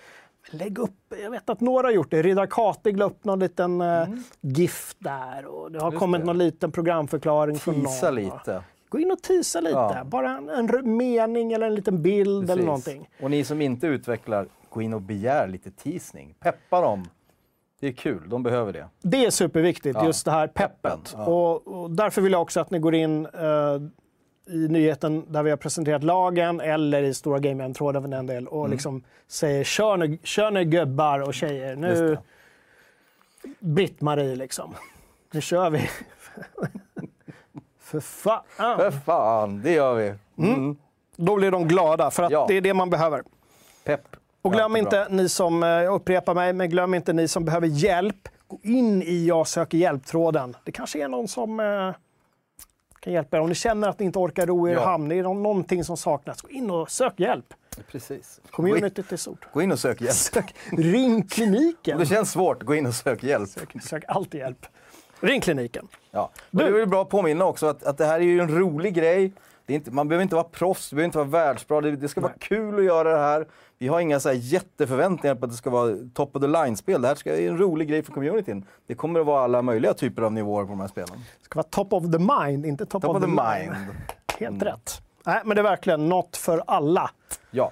A: Lägg upp, jag vet att några har gjort det. Riddar Katig la upp någon liten eh, GIF där och det har
B: Mm. Just
A: kommit
B: det.
A: någon liten programförklaring från någon.
B: Tisa lite.
A: Gå in och tisa lite.
B: Ja.
A: Bara en, en r- mening eller en liten bild eller
B: Precis.
A: någonting.
B: Och ni som inte utvecklar, gå in och begär lite teasning. Peppa dem. Det är kul, de behöver det.
A: Det är superviktigt,
B: Ja.
A: just det här peppet.
B: Peppen, ja.
A: Och, och därför vill jag också att ni går in eh, i nyheten där vi har presenterat lagen eller i Stora Game Jam-tråden för den del och liksom säger kör nu, kör nu gubbar och tjejer. Nu Britt-Marie liksom. Nu kör (laughs) vi. för
B: För
A: fan.
B: fan, det gör vi. Mm.
A: Då blir de glada för att
B: Ja.
A: det är det man behöver.
B: Pepp.
A: Och glöm
B: Ja, bra.
A: inte, ni som, eh, jag upprepar mig, men glöm inte ni som behöver hjälp, gå in i Jag söker hjälp-tråden. Det kanske är någon som eh, kan hjälpa er. Om ni känner att ni inte orkar ro er i
B: Ja.
A: hamn, det är nå- någonting som saknas, gå in och sök hjälp.
B: Precis. Gå in,
A: Communityt är stort.
B: gå in och sök hjälp.
A: Sök, ring
B: Om
A: kliniken.
B: det känns svårt, gå in och sök hjälp.
A: Sök alltid hjälp. Ring kliniken.
B: Ja. Och det är väl bra att påminna också att, att det här är ju en rolig grej. Det är inte, man behöver inte vara proffs, du behöver inte vara världsbra. Det, det ska vara kul att göra det här. Vi har inga så här jätteförväntningar på att det ska vara top of the line-spel. Det här ska, är en rolig grej för communityn. Det kommer att vara alla möjliga typer av nivåer på de här spelen.
A: Det ska vara top of the mind, inte top,
B: Top of the mind. Mm.
A: Helt rätt. Nej, men det är verkligen något för alla.
B: (laughs) Ja.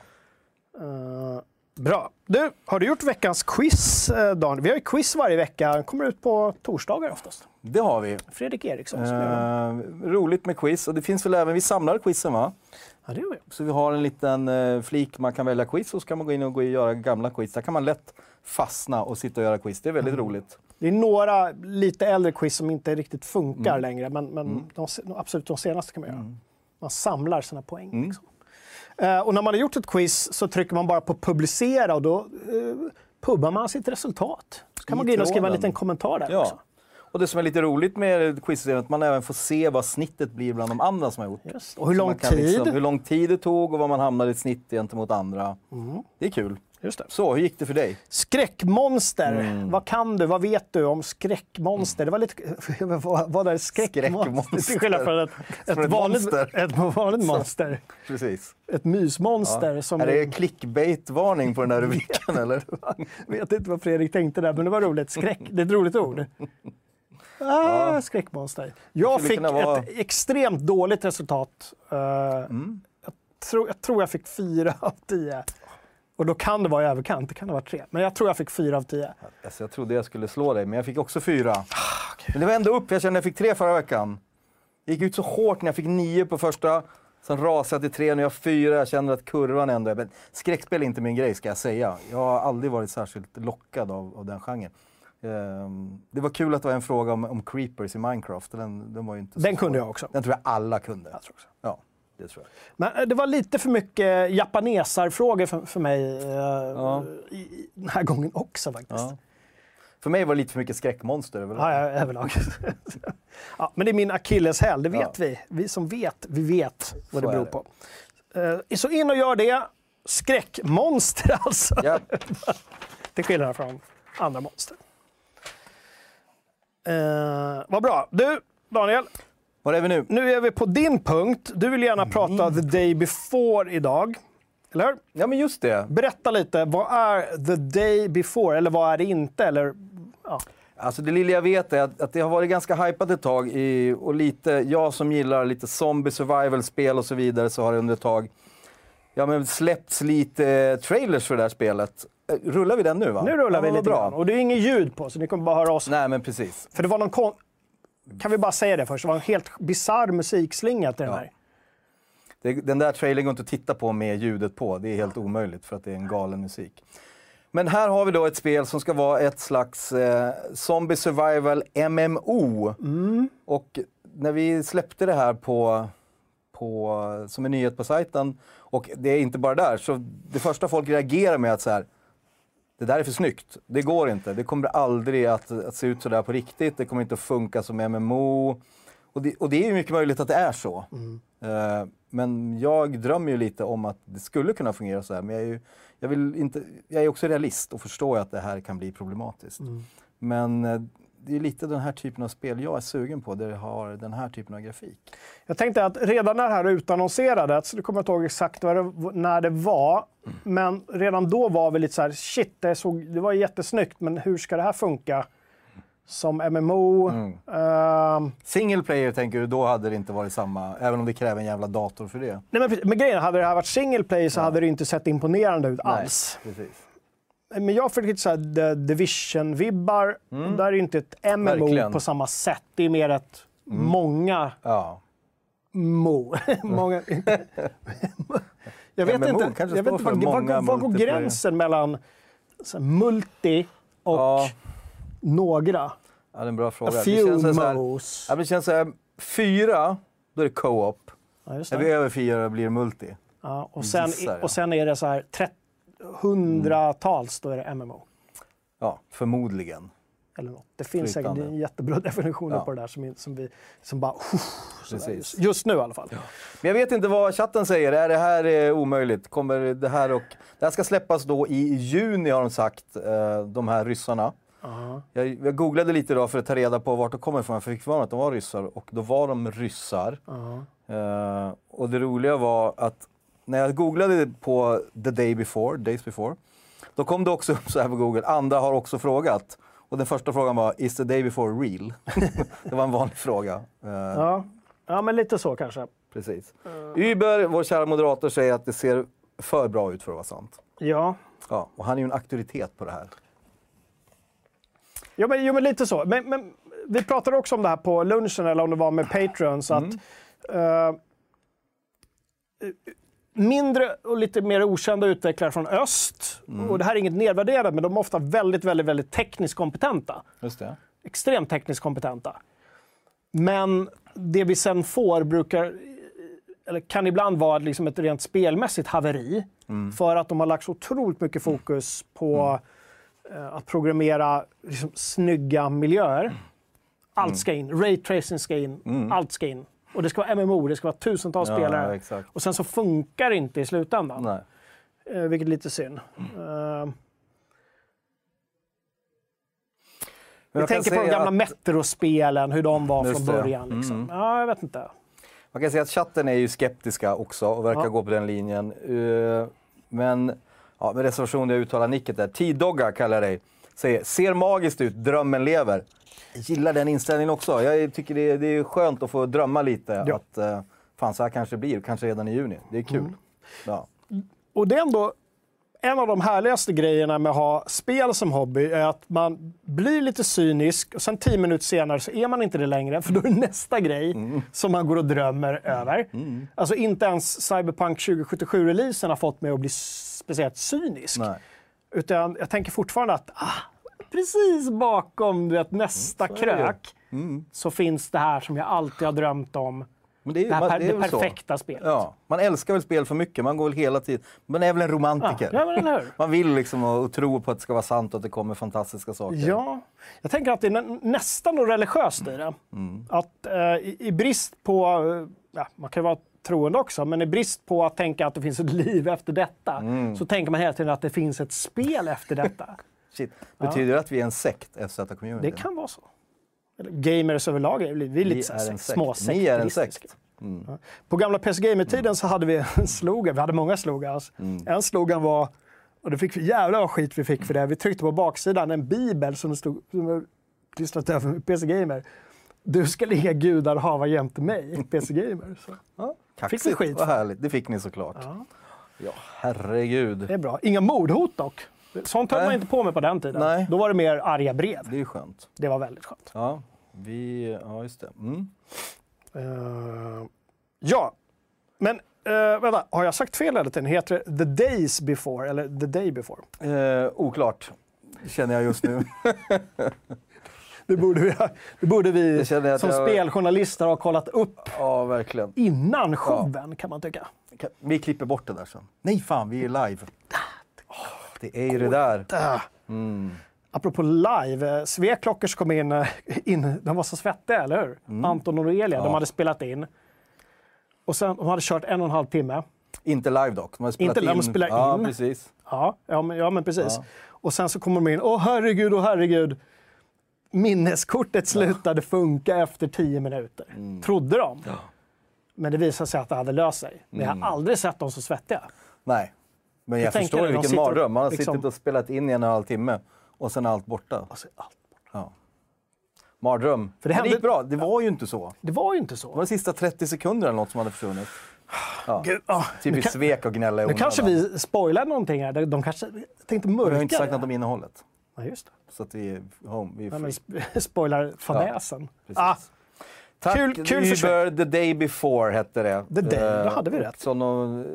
A: Eh, bra. Du, har du gjort veckans quiz, eh, Dan? Vi har ju quiz varje vecka. Den kommer ut på torsdagar oftast.
B: Det har vi.
A: Fredrik Eriksson som gör den.
B: Eh, roligt med quiz. Och det finns väl även, vi samlar quizen va?
A: Ja, det gör vi.
B: Så vi har en liten eh, flik man kan välja quiz och så kan man gå in och gå och göra gamla quiz. Där kan man lätt fastna och sitta och göra quiz. Det är väldigt roligt.
A: Det är några lite äldre quiz som inte riktigt funkar
B: Mm.
A: längre, men, men de, se- absolut de senaste kan man göra. Man samlar sina poäng.
B: Mm.
A: Liksom. Eh, och när man har gjort ett quiz så trycker man bara på publicera och då eh, pubbar man sitt resultat. Så kan
B: I
A: man gå in och skriva en
B: tråden.
A: liten kommentar där också.
B: Ja. Och det som är lite roligt med quizsystemet är att man även får se vad snittet blir bland de andra som har gjort.
A: Just. Och hur
B: Så
A: lång
B: man kan liksom
A: tid.
B: hur lång tid det tog och vad man hamnade i ett snitt gentemot andra. Det är kul.
A: Just det.
B: Så, hur gick det för dig?
A: Skräckmonster.
B: Mm.
A: Vad kan du? Vad vet du om skräckmonster? Det var lite... (laughs) vad, vad är skräckmonster?
B: Skräckmonster.
A: Till skillnad från ett, ett,
B: Från ett
A: vanligt,
B: monster.
A: ett vanligt monster.
B: Precis.
A: Ett mysmonster. Som
B: Är det clickbait-varning på den där rubriken (laughs) eller?
A: vet inte vad Fredrik tänkte där, men det var roligt. Skräck, det är ett roligt ord. Ah, skräckmonster. Jag
B: skulle
A: fick
B: kunna vara-
A: ett extremt dåligt resultat. Eh,
B: Mm.
A: jag, tror, jag tror jag fick fyra av tio. Och då kan det vara i överkant, det kan ha varit tre. Men jag tror jag fick fyra av tio.
B: Alltså, jag trodde jag skulle slå dig, men jag fick också fyra. Men det var ändå upp. Jag kände att jag fick tre förra veckan. Jag gick ut så hårt när jag fick nio på första. Sen rasade jag till tre, nu har jag fyra. Jag känner att kurvan ändå är... Men skräckspel är inte min grej, ska jag säga. Jag har aldrig varit särskilt lockad av, av den genren. Ehm, det var kul att det var en fråga om, om creepers i Minecraft. Den, den var ju inte så
A: Den
B: svår.
A: kunde jag också.
B: Den tror jag alla kunde. Jag tror också. Ja, det tror jag.
A: Men eh, det var lite för mycket japanesarfrågor för, för mig eh, i, i, den här gången också faktiskt.
B: Ja. För mig var det lite för mycket skräckmonster. överlag.
A: Ja, ja, överlag. (laughs) ja, men det är min akilleshäl, det vet
B: Ja.
A: vi. Vi som vet, vi vet vad det
B: Så är
A: beror
B: det.
A: på. Eh, så in och gör det. Skräckmonster (laughs) alltså,
B: Ja.
A: till skillnad från andra monster. Eh, vad bra. Du, Daniel,
B: Var är vi nu?
A: nu är vi på din punkt. Du vill
B: Mm.
A: gärna prata the day before idag. Eller hur?
B: Ja, men just det.
A: Berätta lite, vad är the day before? Eller vad är det inte? Eller, ja.
B: Alltså det lilla jag vet är att, att det har varit ganska hypat ett tag i, och lite, jag som gillar lite zombie survival-spel och så vidare så har det under ett tag ja, men släppts lite eh, trailers för det här spelet. Eh, Rullar vi den nu va?
A: Nu rullar
B: Ja,
A: vi
B: vad
A: lite grann. Och det är inget ljud på, så ni kommer bara höra oss
B: Nej men precis.
A: För det var någon kon... Kan vi bara säga det först? Det var en helt bizarr musikslinga till den
B: Ja.
A: här.
B: Det, den där trailern går inte att titta på med ljudet på. Det är helt omöjligt för att det är en galen musik. Men här har vi då ett spel som ska vara ett slags eh, zombie survival MMO. Och när vi släppte det här på, på, som en nyhet på sajten, och det är inte bara där, så det första folk reagerar med att så här, det där är för snyggt. Det går inte. Det kommer aldrig att, att se ut så där på riktigt. Det kommer inte att funka som MMO. Och det, och det är ju mycket möjligt att det är så. Eh, men jag drömmer ju lite om att det skulle kunna fungera så här. Men jag är, ju, jag vill inte, jag är också realist och förstår ju att det här kan bli problematiskt.
A: Mm.
B: Men eh, det är lite den här typen av spel jag är sugen på, där det har den här typen av grafik.
A: Jag tänkte att redan när det här utannonserades, nu kommer jag inte ihåg exakt när det, när det var, men redan då var vi lite så här, shit, det, såg, det var jättesnyggt, men hur ska det här funka? Som MMO.
B: Mm.
A: Ehm,
B: Single player tänker du, då hade det inte varit samma, även om det kräver en jävla dator för det.
A: nej men, precis. men grejen är, hade det här varit single play så hade det inte sett imponerande ut alls.
B: Nej, precis.
A: Men jag fick lite så här The Division-vibbar. Där är det inte ett MMO
B: Mm. Verkligen. Mm.
A: på samma sätt. Det är mer ett många
B: Ja.
A: Mo. (laughs) Många... jag vet
B: MMO
A: inte,
B: kanske
A: jag vet
B: står
A: inte
B: för
A: vad,
B: många
A: vad, vad går
B: multiplayer.
A: gränsen mellan så här, multi och
B: Ja.
A: några?
B: ja, det är en bra
A: A
B: fråga. det,
A: few
B: känns så här,
A: mos.
B: ja, men det känns så här, fyra, då är det co-op.
A: Ja, just
B: Är vi
A: det.
B: över fyra blir det multi.
A: Ja, och, sen,
B: gissar jag.
A: och sen är det så här trett, hundratals, då är det MMO.
B: Ja, förmodligen.
A: Eller något. Det finns
B: Flytande.
A: säkert jättebra (laughs) definitioner
B: Ja.
A: på det där som, är- som, vi, som bara... så där,
B: Precis.
A: just- Just nu i alla fall.
B: Men jag vet inte vad chatten säger. Är det här eh, omöjligt? Kommer det här och... Det här ska släppas då i juni har de sagt, eh, de här ryssarna.
A: Aha.
B: Jag, jag googlade lite idag för att ta reda på vart de kommer ifrån. Jag fick för mig att de var ryssar och då var de ryssar.
A: Aha.
B: Eh, och det roliga var att när jag googlade på the day before, days before, då kom det också (laughs) upp så här på Google, andra har också frågat. Och den första frågan var, is the day before real? (laughs) det var en vanlig fråga. Eh,
A: Ja. ja, men lite så kanske.
B: Precis. Uber, vår kära moderator, säger att det ser för bra ut för att vara sant.
A: Ja,
B: Ja, och han är ju en auktoritet på det här.
A: Jo, men, jo, men lite så. Men, men vi pratade också om det här på lunchen, eller om det var med Patrons, att eh, mindre och lite mer okända utvecklare från öst, och det här är inget nedvärderat, men de är ofta väldigt, väldigt, väldigt tekniskt kompetenta.
B: Just det.
A: Extremt tekniskt kompetenta. Men det vi sen får brukar, eller kan ibland vara liksom ett rent spelmässigt haveri,
B: Mm.
A: för att de har lagt så otroligt mycket fokus på
B: Mm.
A: eh, att programmera liksom, snygga miljöer. Allt ska in. Raytracing ska in. Allt ska in. Och det ska vara MMO, det ska vara tusentals
B: Mm. Ja,
A: spelare.
B: exakt.
A: Och sen så funkar det inte i slutändan,
B: Nej. Mm.
A: eh, vilket är lite synd. Eh, jag
B: Men jag kan
A: tänker på de
B: säga
A: gamla
B: att-
A: Metro-spelen, hur de var från
B: Just det, Mm. ja.
A: början. Liksom. Ja, jag vet inte.
B: Man kan säga att chatten är ju skeptiska också och verkar
A: Ja.
B: gå på den linjen. Eh, Men ja, med reservation jag uttalar nicket där. Tidogga kallar jag dig. Säger, ser magiskt ut, drömmen lever. Jag gillar den inställningen också. Jag tycker det är, det är skönt att få drömma lite.
A: Ja. Mm.
B: Att, eh, fan, så här kanske det blir, kanske redan i juni. Det är kul. Ja.
A: Och det är ändå en av de härligaste grejerna med att ha spel som hobby är att man blir lite cynisk och sen tio minuter senare så är man inte det längre för då är det nästa grej som man går och drömmer över. Alltså inte ens Cyberpunk 2077-releasen har fått mig att bli s- speciellt cynisk.
B: Nej.
A: Utan jag tänker fortfarande att ah, precis bakom du vet, nästa
B: så är det ju. Mm.
A: krök så finns det här som jag alltid har drömt om.
B: Men det är, ju-
A: Det, här,
B: man-
A: per-
B: det är
A: det
B: väl så.
A: perfekta spelet.
B: Ja, man älskar väl spel för mycket, man går väl hela tiden... Man är väl en
A: Ja,
B: romantiker?
A: ja, men eller hur?
B: Man vill liksom och, och tro på att det ska vara sant och att det kommer fantastiska saker.
A: Ja, jag tänker att det är nä- nästan något religiöst i det.
B: Mm.
A: Att eh, i, i brist på, eh, ja, man kan ju vara troende också, men i brist på att tänka att det finns ett liv efter detta
B: Mm.
A: så tänker man hela tiden att det finns ett spel efter
B: (laughs)
A: detta.
B: Shit. Betyder det att vi är en sekt, FZ Community?
A: det kan vara så. Eller, gamers överlag, är vi, vi är
B: Vi
A: lite så
B: är
A: här
B: en
A: sek-
B: sekt.
A: småsektivistiska.
B: Ni är en sekt. Mm.
A: Ja. På gamla PS Gamer-tiden så hade vi en (laughs) slogan, vi hade många slogans.
B: Mm.
A: En slogan var, och det fick vi, jävlar vad skit vi fick för det, vi tryckte på baksidan en bibel som det stod, som var klistrat över med PC Gamer. Du ska inga gudar hava jämte mig, PC Gamer. Så.
B: Ja,
A: Fick
B: kaxigt,
A: ni skit?
B: vad härligt. Det fick ni såklart. Ja,
A: Ja,
B: herregud.
A: det är bra. Inga mordhot dock. Sånt höll
B: Nej.
A: man inte på med på den tiden.
B: Nej.
A: Då var det mer arga brev.
B: Det är ju skönt.
A: Det var väldigt skönt.
B: Ja, vi... Ja, just det. Mm.
A: Eh, ja, men eh, vänta, har jag sagt fel hela tiden? Heter det The Days Before eller The Day Before?
B: Eh, oklart, känner jag
A: (laughs)
B: just nu.
A: Det borde vi, det borde vi
B: Jag känner att
A: som
B: jag-
A: speljournalister ha kollat upp
B: ja, verkligen.
A: innan showen, kan man tycka.
B: Kan- Vi klipper bort det där sen. Nej, fan, vi är live. Åh, det är ju det där. Mm.
A: Äh. Apropå live, eh, Svea Klockers kom in, eh, in, de var så svettiga, eller hur? Anton och Noelia, de
B: Mm. Ja.
A: hade spelat in. Och sen, de hade kört en och en halv timme.
B: Inte live dock. De har spelat
A: Inte live, de
B: in.
A: spelar
B: ja,
A: in.
B: Precis.
A: Ja, ja, men, ja men precis.
B: Ja.
A: Och sen så kommer de in, åh herregud, åh herregud. Minneskortet slutade funka efter tio minuter,
B: Mm.
A: trodde de. Men det visade sig att det hade löst sig. Men
B: Mm.
A: jag har aldrig sett dem så svettiga.
B: Nej, men jag,
A: Jag tänker
B: förstår
A: det, de
B: ju vilken
A: sitter och
B: mardröm. Man har
A: liksom-
B: suttit och spelat in i en och en halv timme och sen är allt borta.
A: Alltså, allt
B: Ja. Mardröm.
A: För
B: För
A: det
B: det,
A: hände-
B: det gick bra. Det var ju inte så.
A: Det var ju inte
B: Det var
A: så.
B: de sista 30 sekunderna eller något som hade försvunnit. Ja.
A: Gud, ja, nu,
B: Typiskt
A: kan,
B: svek och gnälla i
A: nu kanske
B: onödan.
A: vi spoilar någonting här. De kanske jag tänkte mörka
B: Vi har inte sagt
A: det.
B: något om innehållet.
A: Nej, just det.
B: Så att vi är home. Vi är
A: Nej,
B: free.
A: men sp- (laughs) spoilar fadäsen.
B: Precis.
A: ah,
B: Tack
A: kul- kul
B: Uber,
A: försök.
B: the day before hette det.
A: The day, då
B: Eh,
A: hade vi rätt.
B: Som någon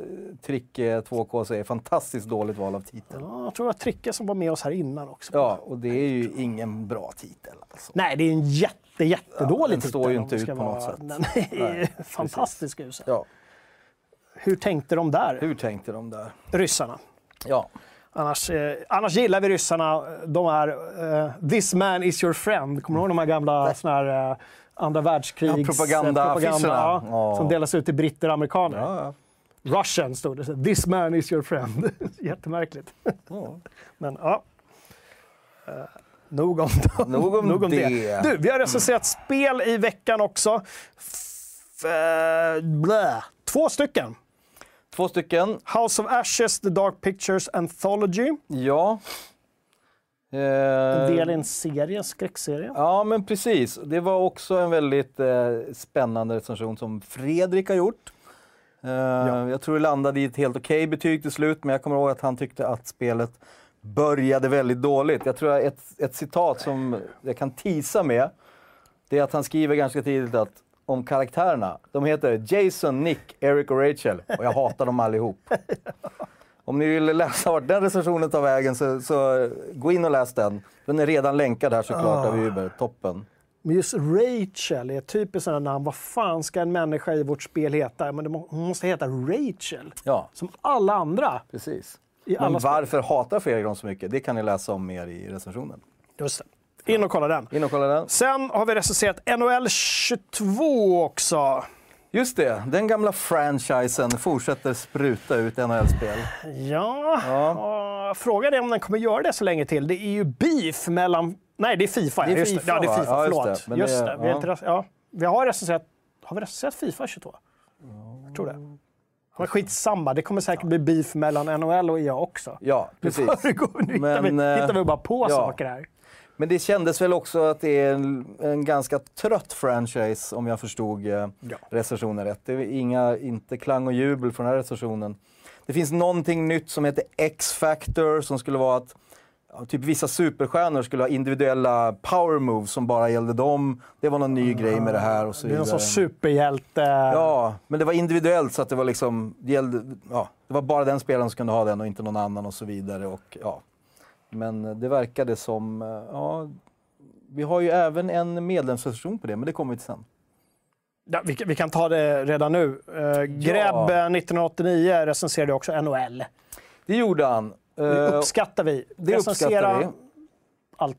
B: trick eh, 2K säger, fantastiskt dåligt val av titel.
A: ja, jag tror det var Tricke som var med oss här innan också.
B: Ja, och det är ju ingen bra titel alltså.
A: Nej, det är en jätte, jättedålig
B: Ja, den
A: titel.
B: står ju
A: om
B: inte
A: vi ska
B: ut på något sätt.
A: Den är
B: Nej,
A: fantastisk usel.
B: Ja,
A: Hur tänkte de där,
B: hur tänkte de där?
A: ryssarna?
B: Ja,
A: Annars, eh, annars gillar vi ryssarna. De är eh, “This man is your friend”. Kommer du ihåg de här gamla såna här, eh, andra världskrigs...
B: Mm. Ja, propaganda-
A: eh,
B: affischerna.
A: ja,
B: Ja.
A: Som delas ut till britter och amerikaner.
B: ja, ja.
A: Russian stod det. så här, “This man (laughs) is your friend”. Jättemärkligt.
B: ja.
A: Men ja. Eh, (laughs) Nog om, dem.
B: Nog om det.
A: Du, vi har recenserat spel i veckan också. F- eh, blä. Två stycken.
B: Två stycken.
A: House of Ashes, The Dark Pictures Anthology.
B: Ja.
A: En
B: Eh,
A: del i en serie, skräckserie.
B: Ja, men precis. Det var också en väldigt eh, spännande recension som Fredrik har gjort. Eh, Jag tror det landade i ett helt okej betyg till slut, men jag kommer ihåg att han tyckte att spelet började väldigt dåligt. Jag tror att ett, ett citat som jag kan tisa med, det är att han skriver ganska tidigt att om karaktärerna, de heter Jason, Nick, Eric och Rachel och jag hatar dem allihop. Om ni vill läsa vart den recensionen tar vägen så, så gå in och läs den. Den är redan länkad här såklart av Uber. Toppen.
A: Men just Rachel är typiskt sådana namn. Vad fan ska en människa i vårt spel heta? Men det må- hon måste heta Rachel.
B: Ja,
A: Som alla andra.
B: precis.
A: I alla
B: Men
A: spel.
B: varför hatar Fredrik dem så mycket? Det kan ni läsa om mer i recensionen.
A: Just det. In och kolla den.
B: In och kolla den.
A: Sen har vi recenserat NHL 22 också.
B: Just det, den gamla franchisen fortsätter spruta ut NHL-spel.
A: Ja, och frågan är om den kommer göra det så länge till. Det är ju beef mellan... Nej, det är Fifa.
B: Det är
A: just
B: FIFA,
A: Ja, det
B: va?
A: är Fifa.
B: Ja, just
A: förlåt.
B: det.
A: Just
B: Men
A: det.
B: det-
A: Vi,
B: ja.
A: har inte, rec- ja. vi har recenserat... Har vi recenserat Fifa 22? Jag tror det. Men skitsamma, det kommer säkert bli beef mellan NHL och EA också.
B: Ja, precis. (laughs)
A: (laughs) Det går- Nu hittar, vi,
B: Men, eh,
A: hittar vi bara på
B: ja.
A: saker här.
B: Men det kändes väl också att det är en, en ganska trött franchise om jag förstod eh,
A: Ja.
B: recensionen rätt. Det är inga, inte klang och jubel från den här recensionen. Det finns någonting nytt som heter X-Factor som skulle vara att ja, typ vissa superstjärnor skulle ha individuella power moves som bara gällde dem. Det var någon ny grej med det här och
A: Det
B: så
A: är
B: vidare.
A: någon sån superhjälte...
B: Ja, men det var individuellt så att det var liksom, det, gällde, ja, det var bara den spelaren som kunde ha den och inte någon annan och så vidare. Och, ja. Men det verkade som, eh, ja, vi har ju även en medlemsrecension på det, men det kommer vi till sen.
A: Ja, vi, kan- vi kan ta det redan nu. Uh, Greb eh, 1989 recenserade också NHL.
B: Det gjorde han.
A: Det
B: Eh,
A: uppskattar vi.
B: det
A: Recensera
B: uppskattar vi.
A: Allt.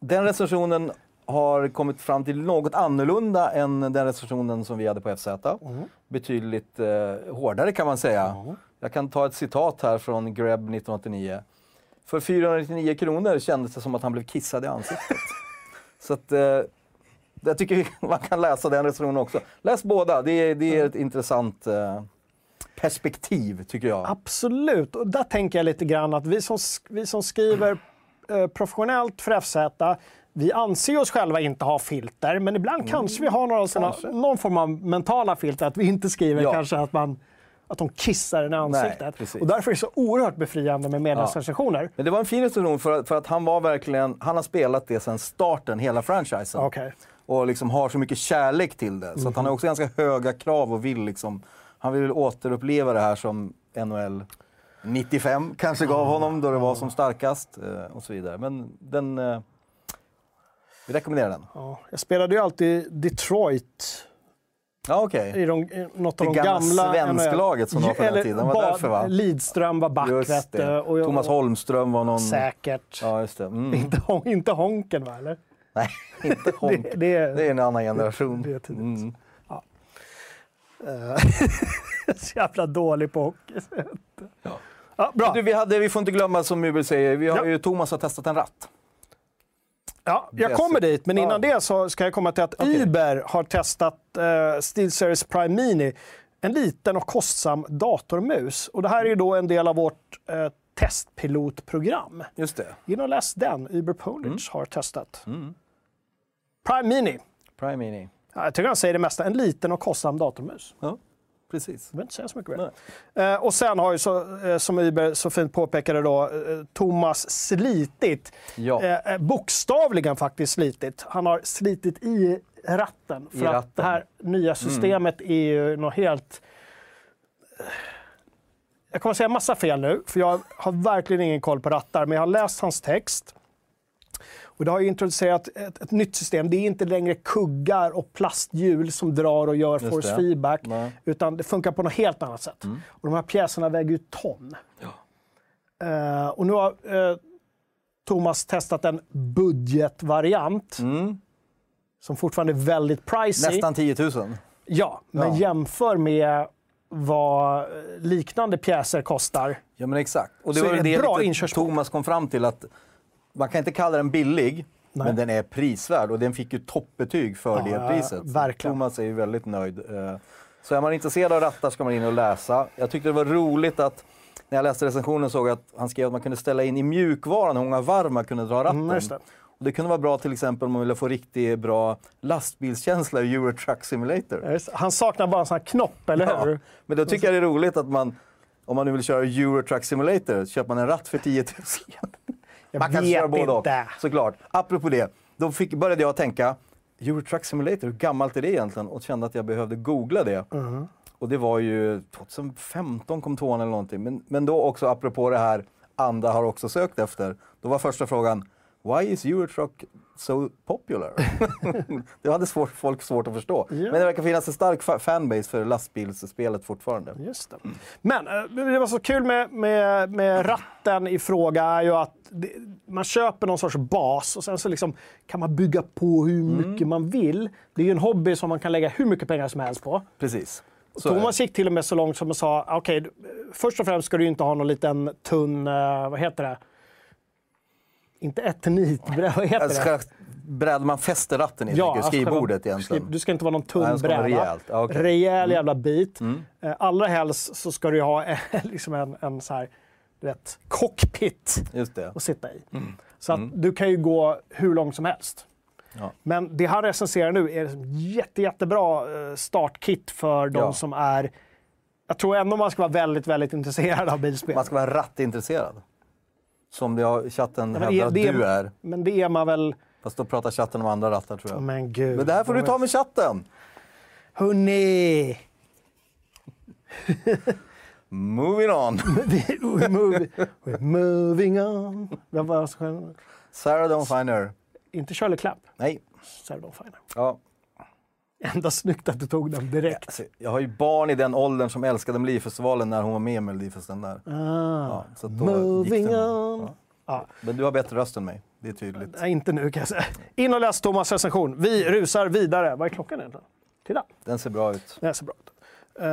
B: Den recensionen har kommit fram till något annorlunda än den recensionen som vi hade på FZ. Betydligt eh, hårdare kan man säga. Jag kan ta ett citat här från Greb 1989. För 499 kronor kändes det som att han blev kissad i ansiktet. Så att, eh, jag tycker (laughs) man kan läsa den recensionen också. Läs båda, det är, det är ett intressant eh, perspektiv tycker jag.
A: Absolut. Och där tänker jag lite grann att vi som, sk- vi som skriver eh, professionellt för FZ, vi anser oss själva inte ha filter, men ibland kanske vi har några såna,
B: Mm. Kanske.
A: någon form av mentala filter, att vi inte skriver
B: Ja.
A: kanske att man att de kissar en i ansiktet.
B: precis.
A: och därför är det så oerhört befriande med medlemsrecensioner.
B: Men det var en fin recension för, att- för att han var verkligen, han har spelat det sedan starten, hela franchisen.
A: Okej.
B: och liksom har så mycket kärlek till det. Så att
A: Mhm.
B: han har också ganska höga krav och vill liksom, han vill återuppleva det här som NHL 95 kanske gav honom då det var som starkast eh, och så vidare. Men den, eh, vi rekommenderar den.
A: Ja, jag spelade ju alltid Detroit
B: Ja okej.
A: i de, i något av
B: Det
A: de
B: gamla
A: gamla...
B: svensklaget som var på den
A: Eller
B: tiden, var
A: Ba-
B: därför, va?
A: Lidström var back,
B: Just
A: vet du.
B: det.
A: eh, Och jag,
B: Thomas Holmström var någon...
A: Säkert.
B: Ja just det.
A: (laughs)
B: Mm.
A: Inte, hon- inte Honken, va? Eller?
B: Nej, (laughs) inte Honk.
A: Det, det är,
B: Det är en annan generation.
A: det är tidigt.
B: Mm.
A: (laughs) så jävla dålig på hockey.
B: Ja.
A: Ja, bra.
B: Du, vi, hade, vi får inte glömma som Uber säger, vi har
A: Ja.
B: ju Thomas har testat en ratt.
A: Ja, jag kommer dit, men innan
B: Ja.
A: det så ska jag komma till att
B: Okej.
A: Uber har testat eh, SteelSeries Prime Mini. En liten och kostsam datormus. Och det här är ju då en del av vårt eh, testpilotprogram.
B: Just det.
A: In och läs den. Uber Polish har testat. Prime Mini.
B: Prime Mini.
A: Ja, jag tycker han säger det mesta. En liten och kostsam datormus.
B: Ja, precis.
A: Jag behöver inte säga så mycket mer. Eh, och sen har ju, så, eh, som Uber så fint påpekade, då, eh, Thomas slitit.
B: Ja.
A: Eh, eh, bokstavligen faktiskt slitit. Han har slitit i ratten. För
B: I ratten. Mm.
A: att det här nya systemet är ju något helt... eh, Jag kommer säga massa fel nu, för jag har verkligen ingen koll på rattar. Men jag har läst hans text. Och det har ju introducerat ett, ett nytt system. Det är inte längre kuggar och plasthjul som drar och gör force
B: det.
A: feedback.
B: Nej. Mm.
A: Utan det funkar på något helt annat sätt. Och de här pjäserna väger ju ton. Eh, och nu har eh, Thomas testat en budgetvariant. Som fortfarande är väldigt pricey.
B: Mm. Nästan 10 000.
A: Ja, men
B: Ja.
A: jämför med vad eh, liknande pjäser kostar.
B: Ja men exakt. Och det
A: Så
B: var
A: är
B: ju
A: det
B: det
A: bra
B: lite
A: inkörsport.
B: Thomas kom fram till att man kan inte kalla den billig,
A: Nej.
B: men den är prisvärd och den fick ju toppbetyg för
A: Ja, ja,
B: det priset. Så
A: verkligen.
B: Thomas är ju väldigt nöjd. Eh, Så är man intresserad av rattar ska man in och läsa. Jag tyckte det var roligt att när jag läste recensionen såg jag att han skrev att man kunde ställa in i mjukvaran hur många varv man kunde dra ratten.
A: Mm, just det.
B: Och det kunde vara bra till exempel om man ville få riktigt bra lastbilskänsla i Euro Truck Simulator.
A: Ja, just det. Han saknar bara en sån här knopp, eller
B: Ja,
A: hur?
B: Men då tycker jag det är roligt att man, om man nu vill köra Euro Truck Simulator, så köper man en ratt för 10 000.
A: (laughs) Jag
B: man kan
A: vet
B: köra både och,
A: inte.
B: såklart. Apropå det, då fick, började jag tänka, Euro Truck Simulator, hur gammalt är det egentligen? Och kände att jag behövde googla det.
A: Mm.
B: Och det var ju 2015 kom tvåan eller någonting. Men, men då också, apropå det här, andra har också sökt efter. Då var första frågan, why is Euro Truck so popular? (laughs) det hade svårt, folk svårt att förstå.
A: Ja.
B: Men det verkar finnas en stark fa- fanbase för lastbilsspelet fortfarande.
A: Just det. Men eh, det var så kul med, med, med ratten i fråga är ju att det, man köper någon sorts bas och sen så liksom kan man bygga på hur
B: Mm.
A: mycket man vill. Det är ju en hobby som man kan lägga hur mycket pengar som helst på.
B: Precis. Så är det.
A: Thomas gick till och med så långt som och sa, okej, du- först och främst ska du ju inte ha någon liten tunn, eh, vad heter det? Inte eternitbräda, vad heter
B: Alltså,
A: det?
B: själva brädan man fäster ratten i, ja,
A: alltså
B: skrivbordet
A: själva-
B: egentligen.
A: skri- Du ska inte vara någon
B: Nej,
A: tunn
B: den ska vara
A: bräda.
B: rejält. Ja, okej. Mm.
A: Rejäl jävla bit. Eh, Allra helst så ska du ju ha (laughs) en, liksom en, en så här, du vet, cockpit
B: Just det.
A: att sitta i.
B: Mm.
A: Så att du kan ju gå hur långt som helst.
B: Ja.
A: Men det han recenserar nu är liksom jätte, jättebra eh, startkit för de
B: Ja.
A: som är... Jag tror ändå man ska vara väldigt, väldigt intresserad av bilspel.
B: Man ska vara rattintresserad. Som det har, chatten
A: men
B: hävdar
A: är
B: att
A: det-
B: du är.
A: Men det är man väl...
B: Fast då pratar chatten om andra rattar tror jag.
A: Men gud.
B: Men det här får du ta med chatten!
A: Hörni! (laughs)
B: Moving on!
A: We're, moving, we're moving on. Vem var det som sjöng?
B: Sarah Dawn Finer.
A: Inte Shirley Clamp,
B: Nej.
A: Sarah Dawn Finer.
B: Ja.
A: Ändå snyggt att du tog den direkt.
B: Alltså, jag har ju barn i den åldern som älskade Melodifestivalen när hon var med i Melodifestivalen där.
A: Ah.
B: Ja, så att då
A: Moving
B: gick den.
A: on. Ja.
B: Men du har bättre röst än mig, det är tydligt.
A: Nej, inte nu kan jag säga. In och läs Thomas recension. Vi rusar vidare. Vad är klockan egentligen? Titta,
B: Den ser bra ut.
A: det här ser bra ut. Eh,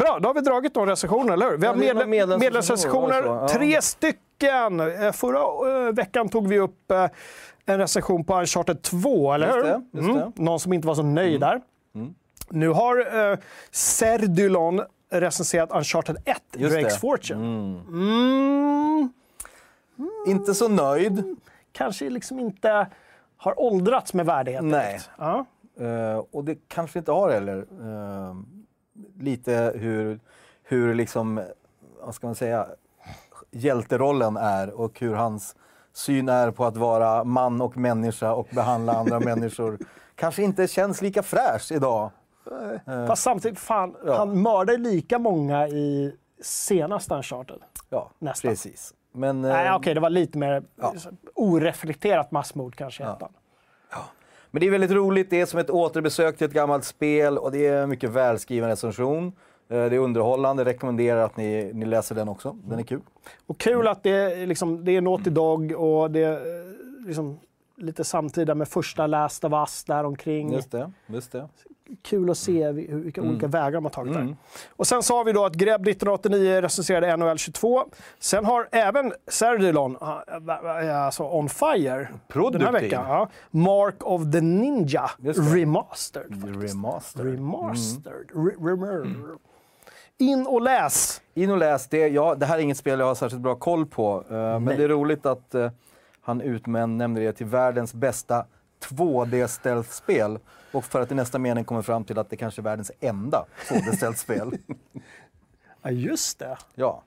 A: bra, då har vi dragit de recensionerna, eller hur? Vi har
B: Ja, det är
A: medle-
B: medlemsrecensioner,
A: medlemsrecensioner,
B: var det så? Ja.
A: tre stycken. Eh, Förra eh, veckan tog vi upp eh, en recension på Uncharted 2, eller
B: Just
A: hur?
B: det, Mm. just
A: Mm. Någon som inte var så nöjd där. Nu har eh, Serdylon recenserat Uncharted 1,
B: Just
A: Drake's
B: det. Mm.
A: Fortune. Mm.
B: Inte så nöjd.
A: kanske liksom inte har åldrats med värdighet.
B: Nej.
A: direkt. Ja.
B: Eh, och det kanske inte har heller. Eh, lite hur, hur liksom, vad ska man säga, hjälterollen är och hur hans syn är på att vara man och människa och
A: (laughs)
B: behandla andra människor. Kanske inte känns lika fräsch idag.
A: Fast samtidigt, fan,
B: Eh. Ja.
A: han mördar ju lika många i senaste Uncharted.
B: Ja,
A: Nästan.
B: precis. Men, eh,
A: Nej, okej, det var lite mer oreflekterat massmord kanske. Ja.
B: men det är väldigt roligt. Det är som ett återbesök till ett gammalt spel och det är en mycket välskriven recension. Eh, det är underhållande. Rekommenderar att ni, ni läser den också. Den är kul.
A: Och kul att det, är liksom, det är
B: Mm.
A: Naughty Dog och det är eh, liksom, lite samtida med första Last of Us däromkring.
B: Just det. Just det.
A: kul att se
B: Mm.
A: vi- hur- vilka olika vägar de har tagit där. Och sen så har vi då att Greb 1989 recenserade NHL 22. Sen har även ah, Serdilon, alltså On Fire,
B: Mm.
A: den här
B: Produktiv.
A: veckan. Ja. Mark of the Ninja
B: Just det.
A: Remastered. faktiskt.
B: Remaster.
A: Remastered. Mm. Re- remer- In och läs!
B: In och läs det. Ja, det här är inget spel jag har särskilt bra koll på, eh, men det är roligt att eh, han utnämnde det till världens bästa 2D-stealth-spel. Och för att i nästa mening kommer fram till att det kanske är världens enda
A: (laughs)
B: 2D-stealth-spel.
A: Ja, just det.
B: ja.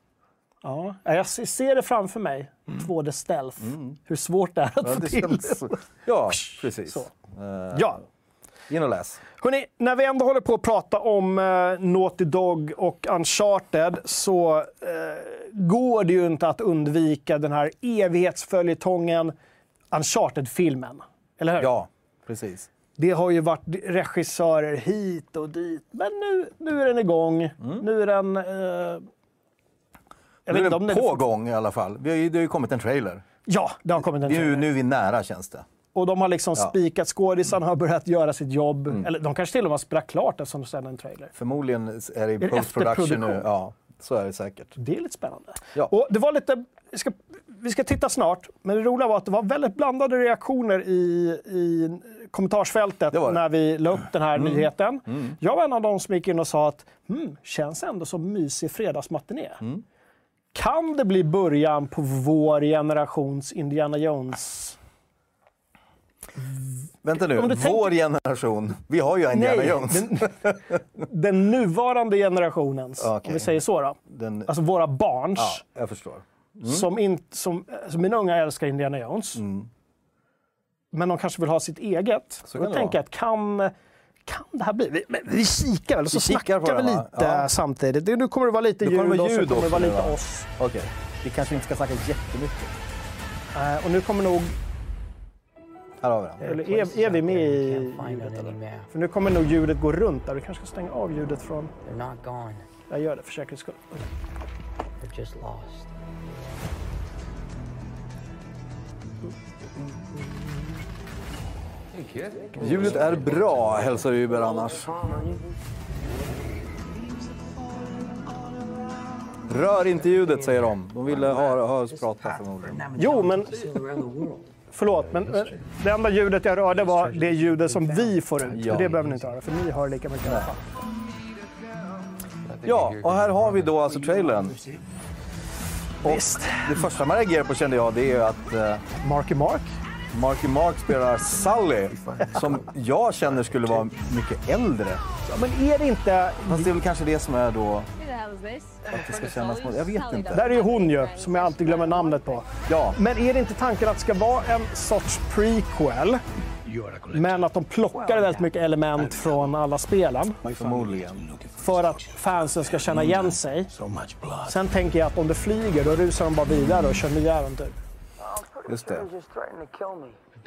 A: Ja. Ja, Jag se- ser det framför mig, 2D Stealth. Hur svårt Mm. det är att
B: Ja,
A: få
B: det
A: till.
B: känns... ja, precis.
A: Så.
B: Eh,
A: Ja,
B: In och läs.
A: Hörrni, när vi ändå håller på att prata om eh, Naughty Dog och Uncharted så eh, går det ju inte att undvika den här evighetsföljetongen Uncharted-filmen. Eller hur?
B: Ja, precis.
A: Det har ju varit regissörer hit och dit, men nu, nu är den igång. Nu är den... Eh, jag
B: Nu Mm. är den på gång i alla fall. Vi har ju, det har ju kommit en trailer.
A: Ja, det har kommit en
B: Nu,
A: trailer.
B: nu är vi nära känns det.
A: Och de har liksom
B: Ja. Mm.
A: spikat skådisarna, har börjat göra sitt jobb. Eller de kanske till och med har spelat klart eftersom de sände en trailer.
B: Förmodligen är det i
A: det
B: post production
A: efterproduktion?
B: nu. Ja, Så är det säkert.
A: Det är lite spännande.
B: Ja.
A: Och det var lite, vi, ska, vi ska titta snart, men det roliga var att det var väldigt blandade reaktioner i, i kommentarsfältet
B: Det var det.
A: när vi la upp den här nyheten.
B: Mm.
A: Jag var en av dem som gick in och sa att hmm, känns ändå som mysig fredagsmatiné.
B: Mm.
A: Kan det bli början på vår generations Indiana Jones?
B: Vänta nu,
A: Om du
B: vår generation. Vi har ju Indiana Jones.
A: den, den nuvarande
B: (laughs)
A: generationens, om
B: Okej.
A: vi säger så då.
B: Den...
A: Alltså våra barns.
B: Ja, jag förstår.
A: Som in, som, alltså mina unga älskar Indiana Jones,
B: Mm.
A: men de kanske vill ha sitt eget.
B: Så
A: Då
B: kan det
A: tänker jag att kan, kan det här bli... Vi, men vi kikar väl, så
B: Vi kikar på
A: snackar vi
B: det, va?
A: lite
B: Ja.
A: samtidigt. Det- Nu kommer det vara lite
B: Nu kommer det
A: ljud
B: vara
A: och så
B: ljud
A: kommer det vara
B: också nu,
A: lite
B: va?
A: oss.
B: Okej, vi kanske inte ska snacka jättemycket.
A: Eh, och nu kommer nog...
B: Här har vi den.
A: Eller är, är vi med i ljudet? Eller? För nu kommer nog ljudet gå runt där. Du kanske ska stänga av ljudet från...
C: They're not gone.
A: Jag gör det för säkerhets skull.
C: They're just lost.
B: Ljudet är bra, hälsar Uber annars. Rör inte ljudet, säger de. De ville ha, ha oss prata förmodligen.
A: Jo, men... Förlåt, men men det enda ljudet jag rörde var det ljudet som vi får ut.
B: Ja.
A: För det behöver ni inte höra, för ni hör lika mycket i alla fall.
B: Ja, och här har vi då alltså trailern. Och det första man reagerar på kände jag, det är ju att eh,
A: Marky Mark?
B: Marky Mark spelar Sully, som jag känner skulle vara mycket äldre.
A: Ja, men är det inte...
B: Fast det är väl kanske det som är då...
D: Who the hell is this?
B: det ska kännas mot- jag vet inte.
A: Där är ju hon ju, som jag alltid glömmer namnet på.
B: Ja,
A: Men är det inte tanken att det ska vara en sorts prequel, men att de plockar väldigt mycket element från alla spelen
B: förmodligen.
A: för att fansen ska känna igen sig?
E: So much blood.
A: Sen tänker jag att om det flyger, då rusar de bara vidare och kör nya äventyr.
B: Just det.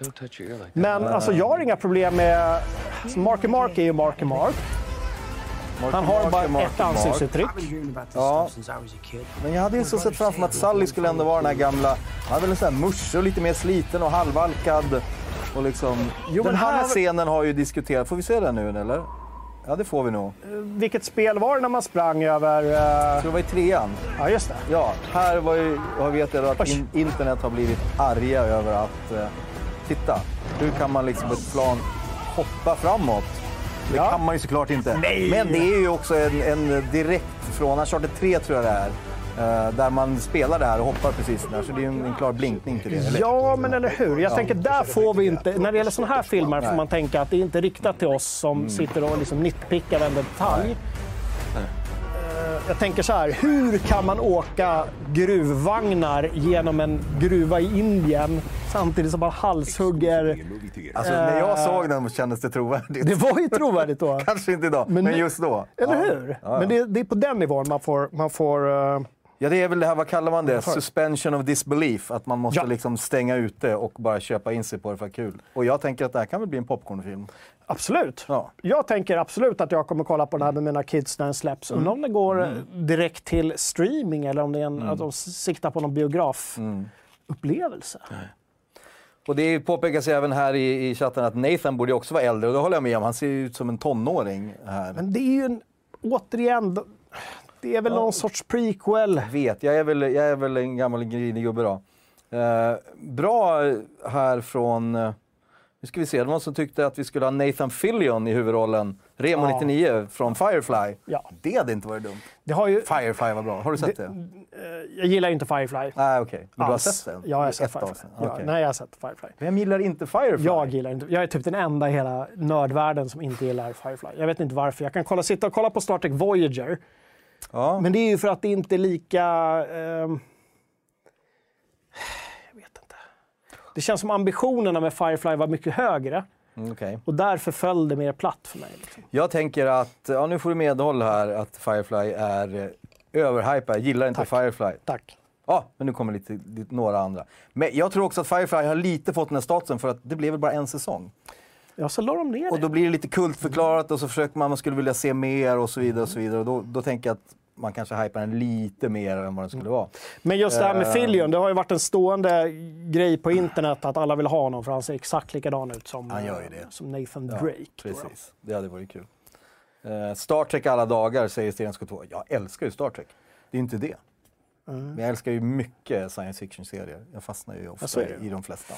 E: Don't touch your ear like that.
A: Men alltså, jag har inga problem med... Alltså, Marky Mark är ju Marky Mark.
B: Marky
A: Han har
B: Mark
A: bara
B: är Marky
A: ett
B: Mark.
A: ansiktsuttryck.
B: Ja.
C: Since I was a kid.
B: Men jag hade ju så sett framför mig att Sally skulle ändå vara den här gamla, han hade väl en sån här musche och lite mer sliten och halvvalkad. Och liksom,
A: Jo,
B: den
A: men han
B: här
A: har väl-
B: scenen har ju diskuterats, får vi se den nu eller? Ja det får vi nog.
A: Vilket spel var det när man sprang över... eh,
B: Så det var i trean.
A: Ja, just det.
B: Ja, här var ju, jag vet jag då att in, internet har blivit arga över att, eh, titta, hur kan man liksom på ett plan hoppa framåt? Det
A: Ja.
B: kan man ju såklart inte. Men det är ju också en, en direkt från Uncharted 3 tror jag det är. eh, Där man spelar det här och hoppar precis där. Så det är ju en, en klar blinkning till det. Eller?
A: Ja, men eller hur? Jag tänker där får vi inte... När det gäller sådana här filmer får man tänka att det är inte riktat till oss som sitter och liksom nitpickar en detalj. Eh, Jag tänker så här, hur kan man åka gruvvagnar genom en gruva i Indien samtidigt som man halshugger...
B: Alltså, när jag såg den kändes det trovärdigt.
A: Det var ju trovärdigt då.
B: (laughs) Kanske inte idag,
A: Men
B: men,
A: nu-
B: just då.
A: Eller
B: ja.
A: hur?
B: Ja,
A: Men det,
B: ja.
A: det är på den nivån man får... Man får eh,
B: ja, det är väl det här, vad kallar man det? Suspension of disbelief. Att man måste
A: Ja.
B: liksom stänga ute och bara köpa in sig på det för att ha kul. Och jag tänker att det här kan väl bli en popcornfilm.
A: Absolut.
B: Ja.
A: Jag tänker absolut att jag kommer kolla på den här med mina kids när den släpps.
B: Mm.
A: Undrar om den går eh, direkt till streaming eller om det är en,
B: Mm.
A: att de s- siktar på någon biografupplevelse.
B: Mm. Och det påpekas ju även här i, i chatten att Nathan borde ju också vara äldre och det håller jag med om. Han ser ju ut som en tonåring här.
A: Men det är ju en, återigen, d- det är väl någon sorts prequel.
B: vet. Jag är väl, jag är väl en gammal grinig gubbe då. Eh, bra här från... eh, Nu ska vi se, det var någon som tyckte att vi skulle ha Nathan Fillion i huvudrollen. Remo
A: Ja.
B: 99 från Firefly.
A: Ja.
B: Det hade inte varit dumt.
A: Det har ju,
B: Firefly var bra. Har du sett det?
A: jag gillar ju inte Firefly.
B: Nej, okej. Men du har
A: alls.
B: sett den?
A: Ja, jag har
B: Ett
A: sett Firefly.
B: avsnitt.
A: Ja,
B: Okej.
A: nej, jag har sett Firefly.
B: Vem gillar inte Firefly?
A: Jag gillar inte, jag är typ den enda i hela nördvärlden som inte gillar Firefly. Jag vet inte varför. Jag kan kolla, sitta och kolla på Star Trek Voyager.
B: Ja.
A: Men det är ju för att det inte är lika... ehm, jag vet inte. Det känns som ambitionerna med Firefly var mycket högre
B: Mm, okej.
A: och därför föll det mer platt för mig. Liksom.
B: Jag tänker att, ja, nu får du medhåll här, att Firefly är eh, överhypad. Jag gillar inte Firefly.
A: Tack.
B: Ja, men nu kommer lite, lite, några andra. Men jag tror också att Firefly har lite fått den här statusen för att det blev väl bara en säsong.
A: Ja, så la de ner
B: Och
A: det.
B: då blir det lite kultförklarat och så försöker man, man skulle vilja se mer och så vidare och så vidare. Och då, då tänker jag att man kanske hypar den lite mer än vad den
A: Mm.
B: skulle vara.
A: Men just det här med
B: Eh.
A: Fillion, det har ju varit en stående grej på internet att alla vill ha honom för han ser exakt likadan ut som,
B: Han gör ju
A: eh,
B: det.
A: som Nathan
B: Ja,
A: Drake. då, då.
B: Precis, det hade varit kul. Eh, Star Trek alla dagar, säger Sten Skottvå. Jag älskar ju Star Trek. Det är inte det.
A: Mm.
B: Men jag älskar ju mycket science fiction-serier. Jag fastnar ju
A: så
B: ofta
A: är det.
B: i de flesta.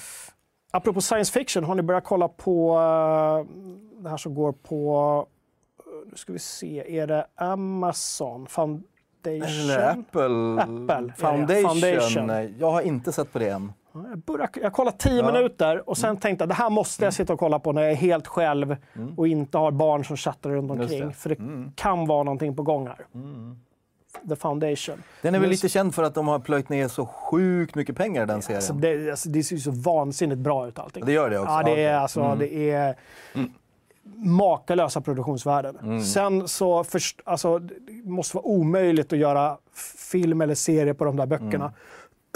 A: Apropå science fiction, har ni börjat kolla på eh, det här som går på... eh, Nu ska vi se, är det Amazon
B: Eller
A: Foundation?
B: Apple,
A: Apple,
B: Foundation.
A: ja, ja. Foundation.
B: Jag har inte sett på det än.
A: Ja, Jag, började, jag kollade tio
B: Ja. Mm.
A: minuter och sen tänkte jag det här måste jag sitta och kolla på när jag är helt själv och inte har barn som chattar runt
B: Just
A: omkring.
B: det. Mm.
A: För det kan vara någonting på gång här. The Foundation.
B: Den är väl
A: Men-
B: lite känd för att de har plöjt ner så sjukt mycket pengar i den serien.
A: Alltså, det, alltså, det ser ju så vansinnigt bra ut allting.
B: Det gör det också?
A: Ja, det är,
B: Okej. Mm,
A: alltså, det är makalösa produktionsvärden. Sen så först, alltså, det måste vara omöjligt att göra film eller serie på de där böckerna.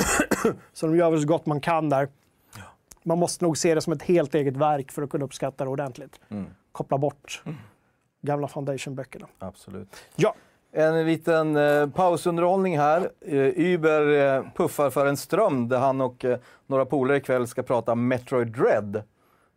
A: (clears throat) så de gör väl så gott man kan där. Man måste nog se det som ett helt eget verk för att kunna uppskatta det ordentligt.
B: mm.
A: Koppla bort gamla Foundation-böckerna.
B: Absolut.
A: Ja,
B: En liten eh, pausunderhållning här. Eh, Uber eh, puffar för en ström där han och eh, några polare ikväll ska prata Metroid Dread.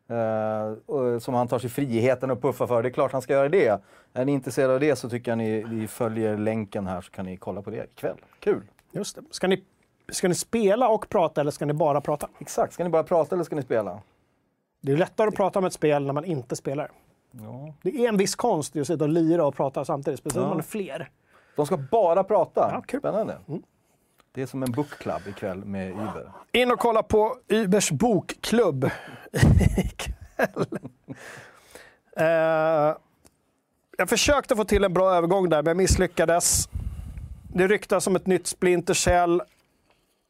B: Eh, och, som han tar sig friheten att puffa för. Det är klart han ska göra det. Är ni intresserade av det så tycker jag ni, ni följer länken här så kan ni kolla på det ikväll. Kul!
A: just det. Ska ni, ska ni spela och prata eller ska ni bara prata?
B: Exakt. Ska ni bara prata eller ska ni spela?
A: Det är lättare att prata om ett spel när man inte spelar.
B: Ja.
A: Det är en viss konst i att sitta och lira och prata samtidigt, speciellt om
B: Ja.
A: man är fler.
B: De ska bara prata.
A: Ja, kul. Mm.
B: Spännande. Det är som en book club ikväll med Uber.
A: In och kolla på Ubers bokklubb (laughs) ikväll. Eh, jag försökte få till en bra övergång där, men jag misslyckades. Det ryktas om ett nytt Splinter Cell.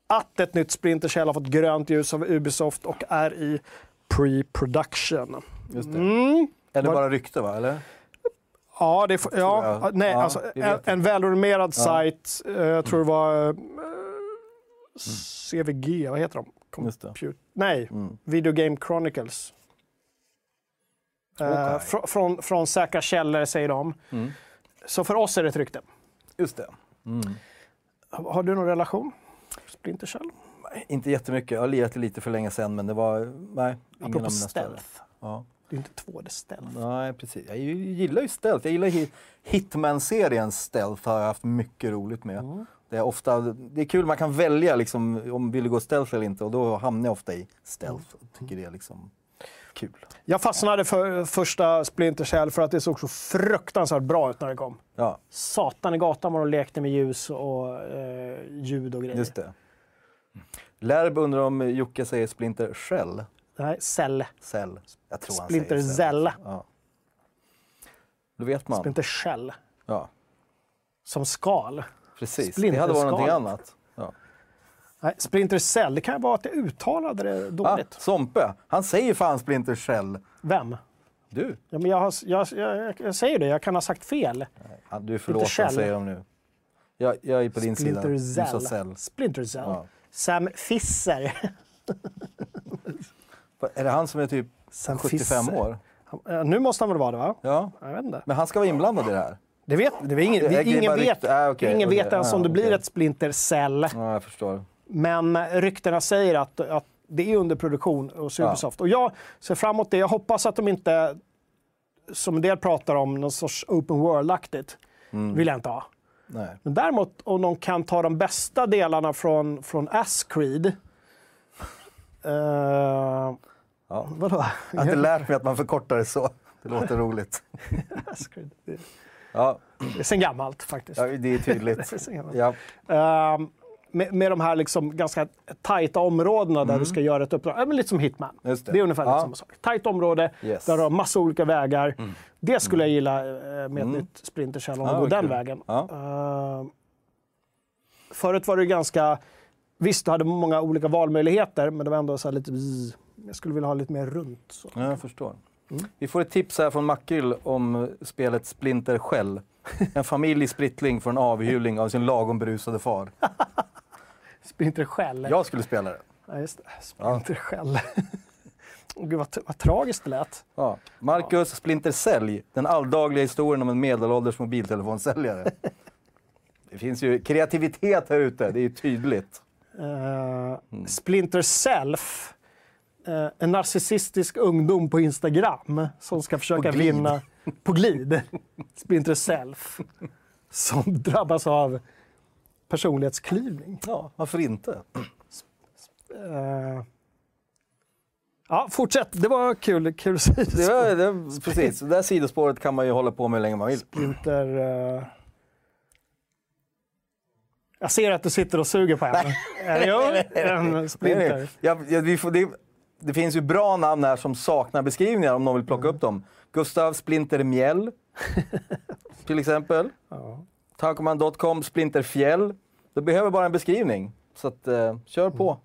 A: Att ett nytt Splinter Cell har fått grönt ljus av Ubisoft och är i pre-production.
B: Just det.
A: Mm.
B: Eller
A: Var-
B: bara rykte va? Eller?
A: Ja, det är, f- ja,
B: jag.
A: nej,
B: Ja,
A: alltså,
B: det vet
A: en,
B: jag.
A: en välrenommerad
B: Ja.
A: sajt, eh, jag tror det var eh, CVG, vad heter de?
B: Mm. Just det.
A: Compute, nej,
B: Mm.
A: Video Game Chronicles. Eh,
B: Okej.
A: fr- från, från säkra källor säger de.
B: Mm.
A: Så för oss är det ett rykte.
B: Just det. Mm.
A: Har har du någon relation? Splinter Cell?
B: Inte jättemycket. Jag har lirat det lite för länge sedan, men det var... Nej, ingen av
A: Apropå
B: mina större.
A: stealth.
B: Ja.
A: Det är inte två, det är stealth.
B: Nej, precis. Jag gillar ju stealth. Jag gillar hi- Hitman-seriens stealth. har jag haft mycket roligt med.
A: Mm.
B: Det, är ofta, det är kul, man kan välja liksom, om vill du gå stealth eller inte och då hamnar jag ofta i stealth. och tycker det är liksom kul.
A: Jag fastnade för första Splinter Cell för att det såg så fruktansvärt bra ut när det kom.
B: Ja,
A: Satan i gatan var de lekte med ljus och eh, ljud och grejer.
B: just det. Lärb undrar om Jocke säger Splinter Shell.
A: Nej, cell.
B: Cell. Jag tror han
A: Splinter
B: säger
A: Cell.
B: Ja. Då vet man.
A: Splinter Shell.
B: Ja,
A: Som skal.
B: precis.
A: Splinter
B: det hade varit någonting
A: Skull.
B: annat. Ja.
A: Nej, Splinter Cell. Det kan ju vara att jag uttalade det
B: Ah,
A: dåligt.
B: Sompe, han säger fan Splinter Cell.
A: Vem?
B: Du,
A: Ja, men jag, har, jag, jag, jag säger det, jag kan ha sagt fel.
B: ja, ah, du är förlåten
A: Shell.
B: säger de nu. Jag, jag är på din
A: Splinter
B: sida. Du sa
A: Cell.
B: Cell.
A: Splinter Cell.
B: Ja.
A: Sam Fisser.
B: Va, Är det han som är typ
A: Sam
B: 75
A: Fisser.
B: år?
A: Han- eh, Nu måste han väl vara det, va?
B: Ja,
A: Jag vet inte.
B: men han ska vara inblandad i det här.
A: Det vet, det är ingen,
B: Det
A: det,
B: är
A: ingen
B: bara
A: vet,
B: rykte. Ah, okej,
A: ingen
B: okej.
A: vet ens
B: Ah,
A: om det blir
B: okej.
A: ett Splinter Cell.
B: Ja, jag förstår.
A: Men ryktena säger att, att det är under produktion hos
B: Ja.
A: Ubisoft. Och jag ser fram emot det. Jag hoppas att de inte, som en del pratar om, någon sorts open world-aktigt. vill jag inte ha.
B: Mm, Nej.
A: Men däremot om de kan ta de bästa delarna från, från Ascreed. Uh,
B: Ja.
A: vadå?
B: Jag har inte lärt mig att man förkortar det så. Det låter roligt.
A: Ascreed. Det
B: Ja,
A: är sen gammalt faktiskt.
B: ja, det är
A: (laughs)
B: tydligt.
A: Det är sen gammalt.
B: Ja.
A: Ehm, med, med de här liksom ganska tajta områdena där du ska göra ett uppdrag. Ja, men lite som Hitman.
B: Just det.
A: är ungefär
B: Mm. Ja.
A: samma sak. Tajt område
B: Yes.
A: där du har massa olika vägar. Det skulle jag gilla eh, med ett nytt Splinter Cell om de går
B: Mm. Ja, vad
A: den
B: kul.
A: vägen.
B: Ja.
A: Ehm, förut var det ju ganska... Visst, du hade många olika valmöjligheter, men det var ändå så här lite... bzz. Jag skulle vilja ha lite mer runt. Så.
B: Ja, jag förstår. Vi får ett tips här från Makrill om eh, spelet Splinter Shell. En familj i splittling får en avhyvling av sin lagom berusade far.
A: Splinter Shell.
B: Jag skulle spela det.
A: Ja, just det. Splinter Shell. Åh, (laughs) Gud, vad, t- vad tragiskt det lät.
B: Ja. Marcus Splinter Sälj, den alldagliga historien om en medelålders mobiltelefonsäljare. Det finns ju kreativitet här ute, det är ju tydligt.
A: Eh, Splinter Self. eh, en narcissistisk ungdom på Instagram som ska försöka
B: glid.
A: vinna på glid. Splinter Self. Som drabbas av personlighetsklivning.
B: Ja, varför inte?
A: Eh, ja, fortsätt. Det var kul. Kul
B: Det
A: sidospår.
B: var, det, var- precis, det där sidospåret kan man ju hålla på med hur länge man vill.
A: Splinter... eh, jag ser att du sitter och suger på henne. Eh,
B: (laughs)
A: Jo, en
B: Det, är
A: splinter.
B: det. Jag, jag, vi får, det, det finns ju bra namn här som saknar beskrivningar om någon vill
A: Mm.
B: plocka upp dem. Gustav
A: (laughs)
B: Splinter Mjäll, till exempel.
A: Ja.
B: Tankoman.com Splinter Fjäll. Det behöver bara en beskrivning. Så att, eh, kör på.
A: Mm.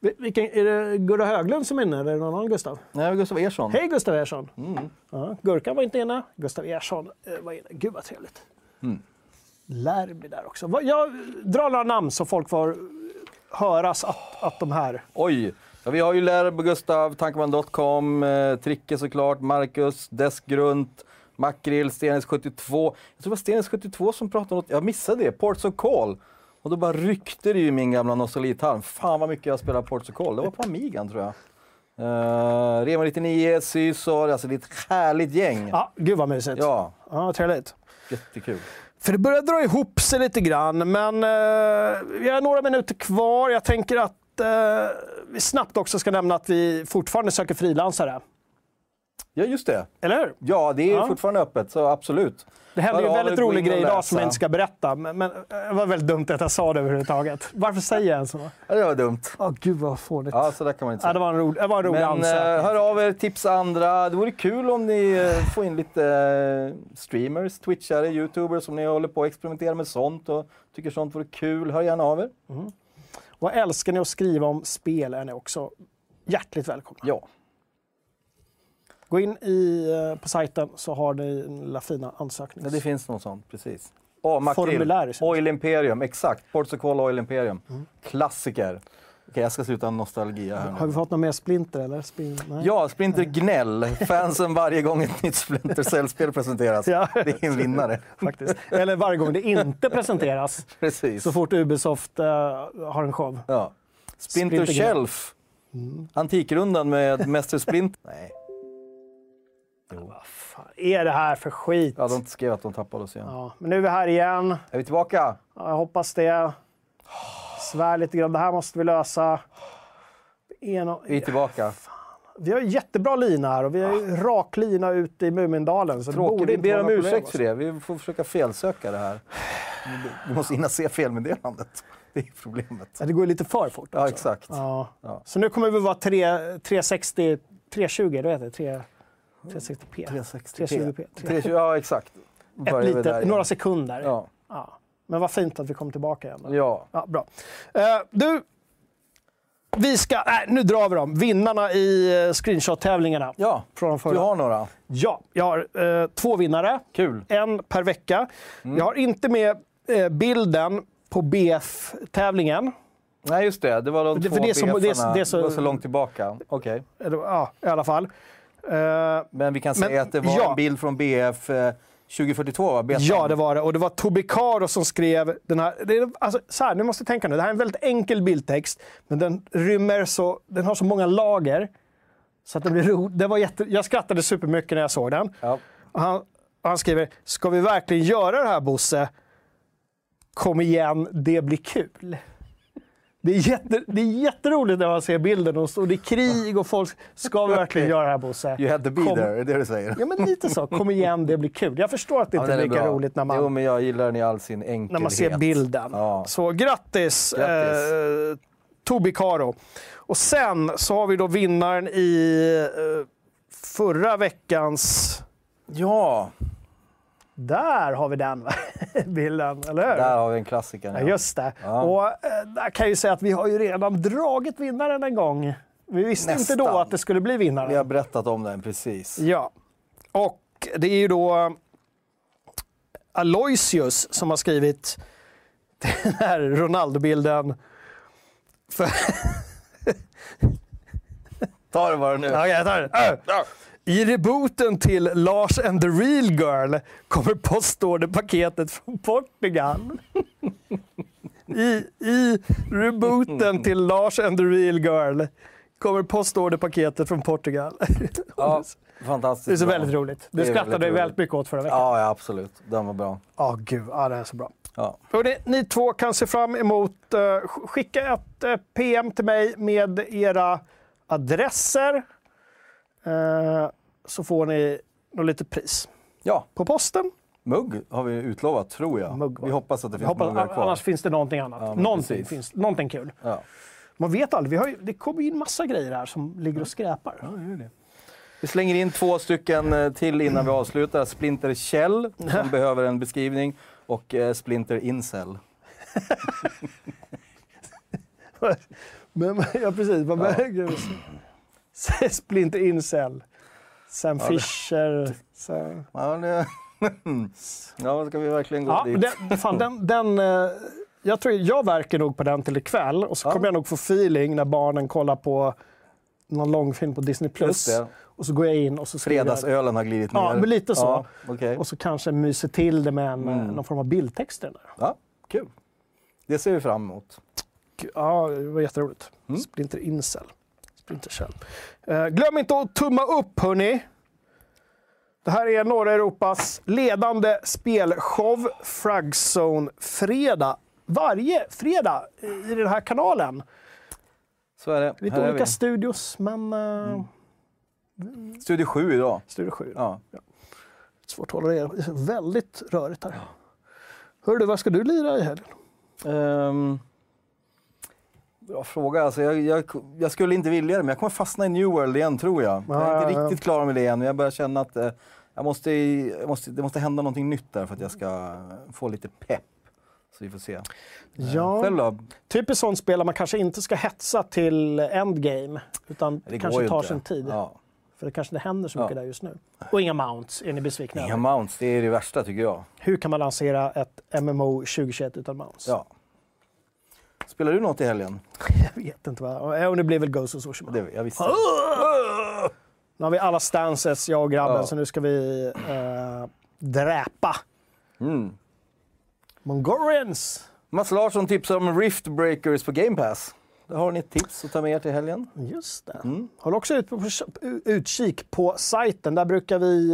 A: Vi- Vilken, är det Gurra Höglund som är inne eller är det någon annan Gustav?
B: Nej, Gustav Ersson.
A: Hej Gustav Ersson!
B: Mm.
A: Ja, Gurkan var inte inne, Gustav Ersson eh, var inne. Gud vad trevligt.
B: Mm.
A: Lär blir där också. Vad- Jag drar några namn så folk får höras att, att de här...
B: Oj! Ja, vi har ju Lärb, Gustav, Tankoman.com, eh, Tricke såklart, Marcus, Deskgrunt, Makrill, Stenis72. Jag tror det var Stenis72 som pratade om något, jag missade det, Ports of Call. Och då bara ryckte det ju i min gamla nostalgitarm. Fan vad mycket jag spelar Ports of Call. Det var på Amigan tror jag. Uh, Rema99, Sysor, alltså det är ett härligt gäng.
A: Ja, gud vad mysigt.
B: Ja,
A: Ja, trevligt.
B: jättekul.
A: För det börjar dra ihop sig lite grann, men eh, vi har några minuter kvar. Jag tänker att eh, vi snabbt också ska nämna att vi fortfarande söker frilansare.
B: Ja, just det.
A: Eller hur?
B: Ja, det är
A: Ja.
B: fortfarande öppet, så absolut.
A: Det hände ju
B: Ja,
A: en
B: då
A: väldigt
B: har vi
A: rolig
B: gå in
A: grej
B: och
A: idag
B: läsa.
A: som jag inte ska berätta, men, men eh, det var väldigt dumt att jag sa det överhuvudtaget. Varför säger jag ens så?
B: Ja, det var dumt.
A: Åh gud vad fånigt.
B: Ja, så där kan man inte
A: Ja, det
B: säga.
A: var en rolig, det var en rolig
B: Men eh,
A: ansökan.
B: hör av er, tipsa andra. Det vore kul om ni eh, får in lite eh, streamers, twitchare, youtubers om ni håller på att experimentera med sånt och tycker sånt vore kul. Hör gärna av er.
A: Vad älskar ni att skriva om spel är ni också hjärtligt välkomna.
B: Ja,
A: Gå in i, eh, på sajten så har ni den lilla fina
B: ja, det
A: ansöknings...
B: finns något sånt. Precis. Oh, makrill.
A: Formulär.
B: Oil Imperium, exakt. Portugal Oil Imperium. Klassiker. Okej, jag ska sluta nostalgia här nu.
A: Mm. Har vi fått någon mer splinter eller? Spin... Nej.
B: Ja, Splinter Gnäll. Fansen varje gång ett nytt Splinter Cell-spel
A: (laughs)
B: presenteras.
A: Ja.
B: Det är en vinnare.
A: faktiskt. Eller varje gång det inte presenteras,
B: Precis.
A: så fort Ubisoft eh, har en show.
B: Ja. Splinter,
A: Splinter Mm. Gnäll.
B: Shelf. Antikrundan med (laughs) Mäster Splinter. Nej,
A: Vad fan är det här för skit?
B: ja, de skrev att de tappade oss igen.
A: Ja, men nu är vi här igen.
B: Är vi tillbaka?
A: Ja, Jag hoppas det. Svär lite grann. Det här måste vi lösa. Det är nå-
B: Vi är tillbaka.
A: Vi har en jättebra lina här och vi har ju rak lina ut i Mumindalen. Så det borde
B: Ah. Tråkigt. Vi
A: inte
B: ber
A: vara
B: om
A: några problem,
B: ursäkt
A: alltså.
B: för det. Vi får försöka felsöka det här.
A: (sighs)
B: Vi måste hinna se felmeddelandet. Det är problemet.
A: Ja, det går ju lite för fort.
B: Ja,
A: också.
B: exakt.
A: Ja.
B: Ja.
A: Så nu kommer vi vara tre- 360, 320, du vet det? 3, 360p. 320p.
B: 320, ja, exakt. Börjar
A: Ett
B: vi där
A: litet,
B: igen.
A: några sekunder. Ja.
B: Ja.
A: Men vad fint att vi kom tillbaka igen. då.
B: ja.
A: Ja, bra. Eh, du, vi ska... Nej, nu drar vi dem. Vinnarna i eh, screenshot-tävlingarna.
B: Ja,
A: Från de förra.
B: du har några.
A: Ja, jag har eh, två vinnare.
B: Kul.
A: En per vecka.
B: Mm.
A: Jag har inte med eh, bilden på BF-tävlingen.
B: Nej, just det. Det var de
A: Det-
B: två
A: för det är så- det är så-
B: befarna.
A: det är så-
B: var så långt tillbaka. Okej.
A: Eller, Ja, i alla fall. Eh,
B: Men vi kan
A: Men-
B: säga att det var
A: ja.
B: en bild från BF eh, 2042, va? Betan.
A: Ja, det var det. Och det var Tobbe Caro som skrev den här. Det är, alltså, så här, nu måste jag tänka nu. Det här är en väldigt enkel bildtext, men den rymmer så, den har så många lager. Så att den blir ro. Det var jätte, jag skrattade supermycket när jag såg den.
B: Ja.
A: Och han, och han skriver, ska vi verkligen göra det här Bosse? Kom igen, det blir kul. Det är, jätte, det är jätteroligt när man ser bilden och, och det är krig och folk, ska vi verkligen göra det här Bosse?
B: You had to be
A: Kom-
B: there, är det du säger?
A: Ja, men lite så. Kom igen, det blir kul. Jag förstår att det
B: Ja,
A: inte
B: den
A: är
B: är
A: lika
B: bra.
A: roligt när man
B: Jo, men jag gillar den i all sin enkelhet.
A: när man ser bilden.
B: Ja.
A: Så grattis,
B: Grattis.
A: Eh, Tobi Karo. Och sen så har vi då vinnaren i eh, förra veckans...
B: Ja,
A: Där har vi den (laughs) va? bilden, eller hur?
B: där har vi en klassiker.
A: Ja, just det.
B: Ja.
A: Och eh, där kan jag ju säga att vi har ju redan dragit vinnaren en gång. Vi visste
B: Nästan.
A: inte då att det skulle bli vinnaren.
B: Vi har berättat om den precis.
A: Ja. Och det är ju då Aloysius som har skrivit (laughs) den här Ronaldo-bilden. För...
B: Ta det bara nu.
A: Ja, jag tar det. Ö! I rebooten till Lars and the Real Girl kommer postorderpaketet från Portugal. (laughs) I, I rebooten till Lars and the Real Girl kommer postorderpaketet från Portugal.
B: Ja,
A: (laughs)
B: fantastiskt
A: Det är så
B: bra.
A: väldigt roligt. Du
B: Det är
A: skrattade
B: väldigt
A: väldigt,
B: roligt.
A: mycket åt förra veckan.
B: Ja, ja, absolut. Den var bra.
A: Ja, gud. Ja, det här är så bra.
B: Ja.
A: Hörrni, ni två kan se fram emot... eh, sk- skicka ett eh, PM till mig med era adresser. Eh, så får ni något litet pris.
B: ja,
A: På posten.
B: mugg har vi utlovat, tror jag.
A: Mugg, va?
B: vi hoppas att det
A: Jag
B: finns
A: hoppas,
B: muggar
A: an-
B: kvar.
A: annars finns det någonting annat.
B: Ja, men
A: någonting,
B: precis.
A: finns, någonting kul.
B: Ja.
A: Man vet aldrig. Vi har ju, det kommer ju in massa grejer här som ligger och skräpar.
B: Vi slänger in två stycken eh, till innan vi avslutar. Splinter Kjell,
A: (laughs)
B: som behöver en beskrivning, och eh, Splinter Incel.
A: Men, (laughs) ja, precis. Vad ja. (laughs) Splinter Incel. Sam Fisher. Sam...
B: Ja, det... (laughs) ja, ska vi verkligen gå
A: Ja,
B: dit?
A: den, fan, den, den, eh, jag, tror, jag verkar nog på den till ikväll och så
B: Ja.
A: kommer jag nog få feeling när barnen kollar på någon långfilm på Disney+.
B: Just
A: Plus.
B: det.
A: Och så går jag in och så skriver jag,
B: Fredagsölen har glidit ner.
A: Ja, men lite så.
B: Ja, okej.
A: och så kanske myser till det med en, eh,
B: Mm.
A: någon form av bildtext. i den Där.
B: ja, kul. Det ser vi fram emot.
A: Ja, det var jätteroligt.
B: Mm.
A: Splinter Incel. Splinter Cell. Eh, glöm inte att tumma upp, hörni. Det här är norra Europas ledande spelshow, Fragzone Fredag. Varje fredag i den här kanalen.
B: Så är det.
A: Lite
B: Här är
A: olika
B: vi.
A: studios, men... eh,
B: Studio 7 idag.
A: Studio 7.
B: Ja.
A: Svårt att hålla reda på. Det är väldigt rörigt här. Hör du, vad ska du lira i helgen?
B: Ehm, bra fråga. Alltså, jag, jag, jag skulle inte vilja det, men jag kommer fastna i New World igen tror jag. jag är
A: Ja,
B: inte
A: ja, ja.
B: riktigt klar med det än, men jag börjar känna att eh, jag måste, jag måste, det måste hända någonting nytt där för att jag ska få lite pepp. Så vi får se.
A: Ja.
B: Eh, Själv då?
A: Typiskt sånt spel där man kanske inte ska hetsa till endgame, utan
B: Det går
A: kanske
B: ju
A: tar
B: inte.
A: sin tid.
B: Ja.
A: För det kanske inte händer så
B: Ja.
A: mycket där just nu. Och inga mounts, är ni besvikna
B: Inga
A: över?
B: mounts, det är det värsta tycker jag.
A: Hur kan man lansera ett MMO 2021 utan mounts?
B: Ja. Spelar du något i helgen?
A: (laughs) Jag vet inte vad... Och det blir väl Ghost of Tsushima. Ah!
B: Det, jag visste.
A: Nu har vi alla stances, jag och grabben,
B: Ja.
A: så nu ska vi eh, dräpa
B: Mm.
A: Mongolians.
B: Mats Larsson tipsar om Rift Breakers på Game Pass. Där har ni ett tips att ta med er till helgen.
A: Just det.
B: Mm.
A: Håll också ut på, utkik på sajten. Där brukar vi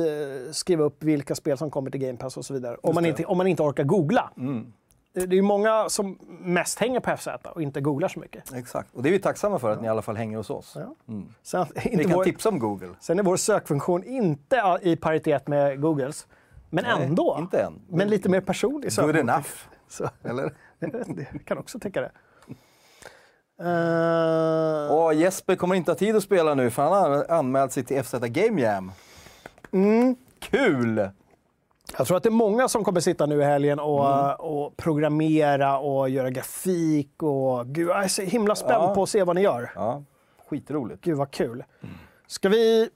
A: eh, skriva upp vilka spel som kommer till Game Pass och så vidare. Om
B: Just
A: man,
B: det.
A: inte, om man inte orkar googla. Eh,
B: Mm.
A: Det det är ju många som mest hänger på FZ och inte googlar så mycket.
B: Exakt, och det är vi tacksamma för att ni i alla fall hänger hos oss.
A: Ja.
B: Mm.
A: Sen,
B: Ni
A: inte
B: kan
A: vår,
B: tipsa om Google.
A: sen är vår sökfunktion inte ja, i paritet med Googles, men
B: Nej,
A: ändå.
B: Inte än.
A: Men lite mer personlig
B: Good
A: sökfunktion.
B: enough,
A: Så,
B: eller?
A: jag kan också tänka (laughs) det. Eh,
B: Och Jesper kommer inte ha tid att spela nu för han har anmält sig till FZ Game Jam.
A: mm.
B: Kul!
A: Jag tror att det är många som kommer sitta nu i helgen och,
B: Mm.
A: och programmera och göra grafik. Och, gud, jag är så himla spänd
B: Ja.
A: på att se vad ni gör.
B: Ja, skitroligt.
A: Gud vad kul. Ska vi...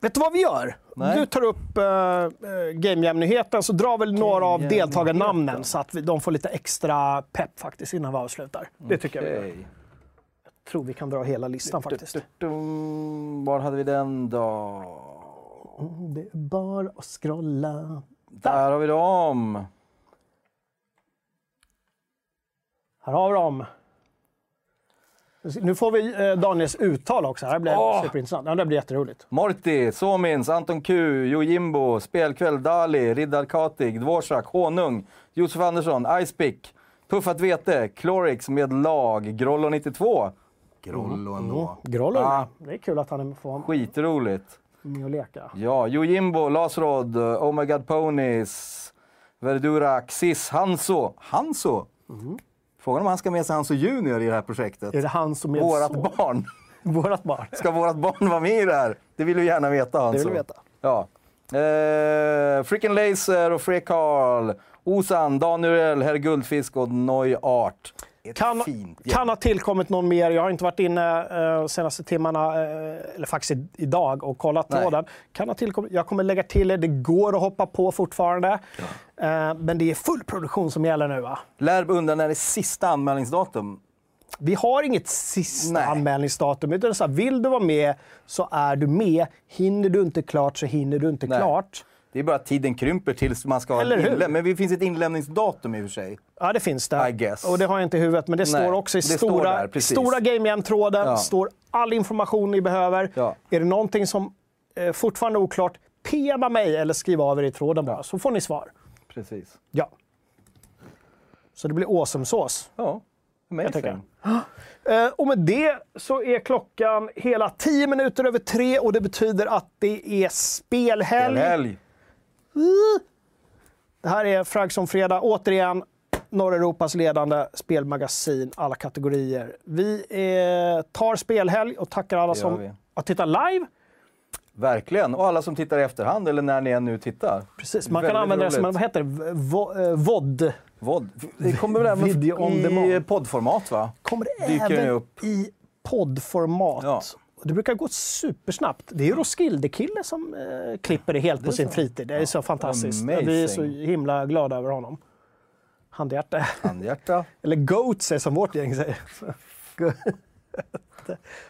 A: Vet du vad vi gör?
B: Nej.
A: Du tar upp uh, GameJam-nyheten så drar väl några av
B: GameJam-nyheten.
A: deltagarnamnen så att vi, de får lite extra pepp faktiskt innan vi avslutar. Det tycker jag vi gör.
B: Okej.
A: Jag tror vi kan dra hela listan faktiskt.
B: Dum, Var hade vi den då?
A: Mm, Det är bara att scrolla.
B: Där har vi dem!
A: Här har vi dem. Nu får vi eh, Daniels uttal också. Det här blir
B: Åh!
A: superintressant. Ja, det här blir jätteroligt.
B: Morty, Somins, Anton Q, Jojimbo, Spelkväll, Dali, Riddarkatig, Dvorak, Honung, Josef Andersson, Icepick, Puffat Vete, Chlorix med lag, Grollo92. Grollo ändå.
A: Mm. Grollo.
B: Ah.
A: Det är kul att han är- får vara
B: Skitroligt.
A: med och leka.
B: Ja, Jojimbo, Lasrod, Oh My God Ponies, Verdurak, Sis, Hanso. Hanso? Frågan om han ska med sig Hanso Junior i det här projektet.
A: Mm. Är det han som är
B: Vårat
A: så-
B: barn.
A: (laughs) Vårat barn.
B: Ska vårt barn vara med i det här? Det vill vi gärna veta. Hanso.
A: Det vill vi veta.
B: Ja. Eh, Freaking Laser och Free Carl, Osan, Daniel, Herr Guldfisk och Noi Art. Ett
A: Kan,
B: fint gäng.
A: kan ha tillkommit någon mer. Jag har inte varit inne eh, senaste timmarna, eh, eller faktiskt i- idag, och kollat
B: Nej.
A: tråden. Kan ha tillkommit. Jag kommer lägga till det. Det går att hoppa på fortfarande. Eh, men det är full produktion som gäller nu. Va?
B: Lärb undrar när det är sista anmälningsdatum.
A: Vi har inget sista
B: Nej.
A: anmälningsdatum. Utan så här, vill du vara med så är du med. Hinner du inte klart så hinner du inte
B: Nej.
A: klart.
B: Det är bara att tiden krymper tills man ska ha
A: Eller hur?
B: inlämning. Men det finns ett inlämningsdatum i och för sig.
A: Ja, det finns det.
B: I guess.
A: Och det har jag inte i huvudet, men det står också i
B: det står
A: stora,
B: där, precis.
A: stora GameJam-tråden.
B: Ja.
A: står all information ni behöver.
B: Ja.
A: Är det någonting som eh, fortfarande är oklart, PMa mig eller skriv av er i tråden bara, så får ni svar.
B: Precis.
A: Ja. Så det blir awesome-sås.
B: Ja,
A: tänker.
B: amazing.
A: Eh, Och med det så är klockan hela 10 minuter över tre och det betyder att det är spelhelg.
B: Helg.
A: Det här är Fragson Fredag, återigen norra Europas ledande spelmagasin, alla kategorier. Vi eh, tar spelhelg och tackar alla
B: gör
A: som
B: vi.
A: har tittat live.
B: Verkligen. Och alla som tittar i efterhand eller när ni än nu tittar.
A: Precis, man
B: Väldigt
A: kan använda det som en,
B: roligt.
A: vad heter det, V- vo, eh, VOD.
B: Vod. Det kommer väl även
A: Video on
B: i
A: demand.
B: poddformat va?
A: Kommer det
B: Dyker den
A: även
B: upp.
A: i poddformat.
B: Ja.
A: Och Det brukar gå supersnabbt. Det är ju Roskilde-kille som eh, klipper det helt på sin fritid. Det är så fantastiskt. Vi är så
B: Amazing.
A: himla glada över honom. Handhjärta.
B: Handhjärta.
A: Eller goats är som vårt gäng säger. (laughs)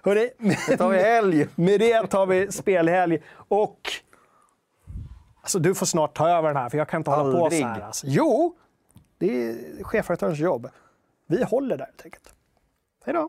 A: Hörrni,
B: Det tar vi
A: Mm.
B: helg.
A: med det tar vi spelhelg. Och... Alltså, du får snart ta över den här, för jag kan inte hålla på
B: Aldrig.
A: så här. Alltså. Jo, det är chefredaktörens jobb. Vi håller där, helt enkelt. Hej då!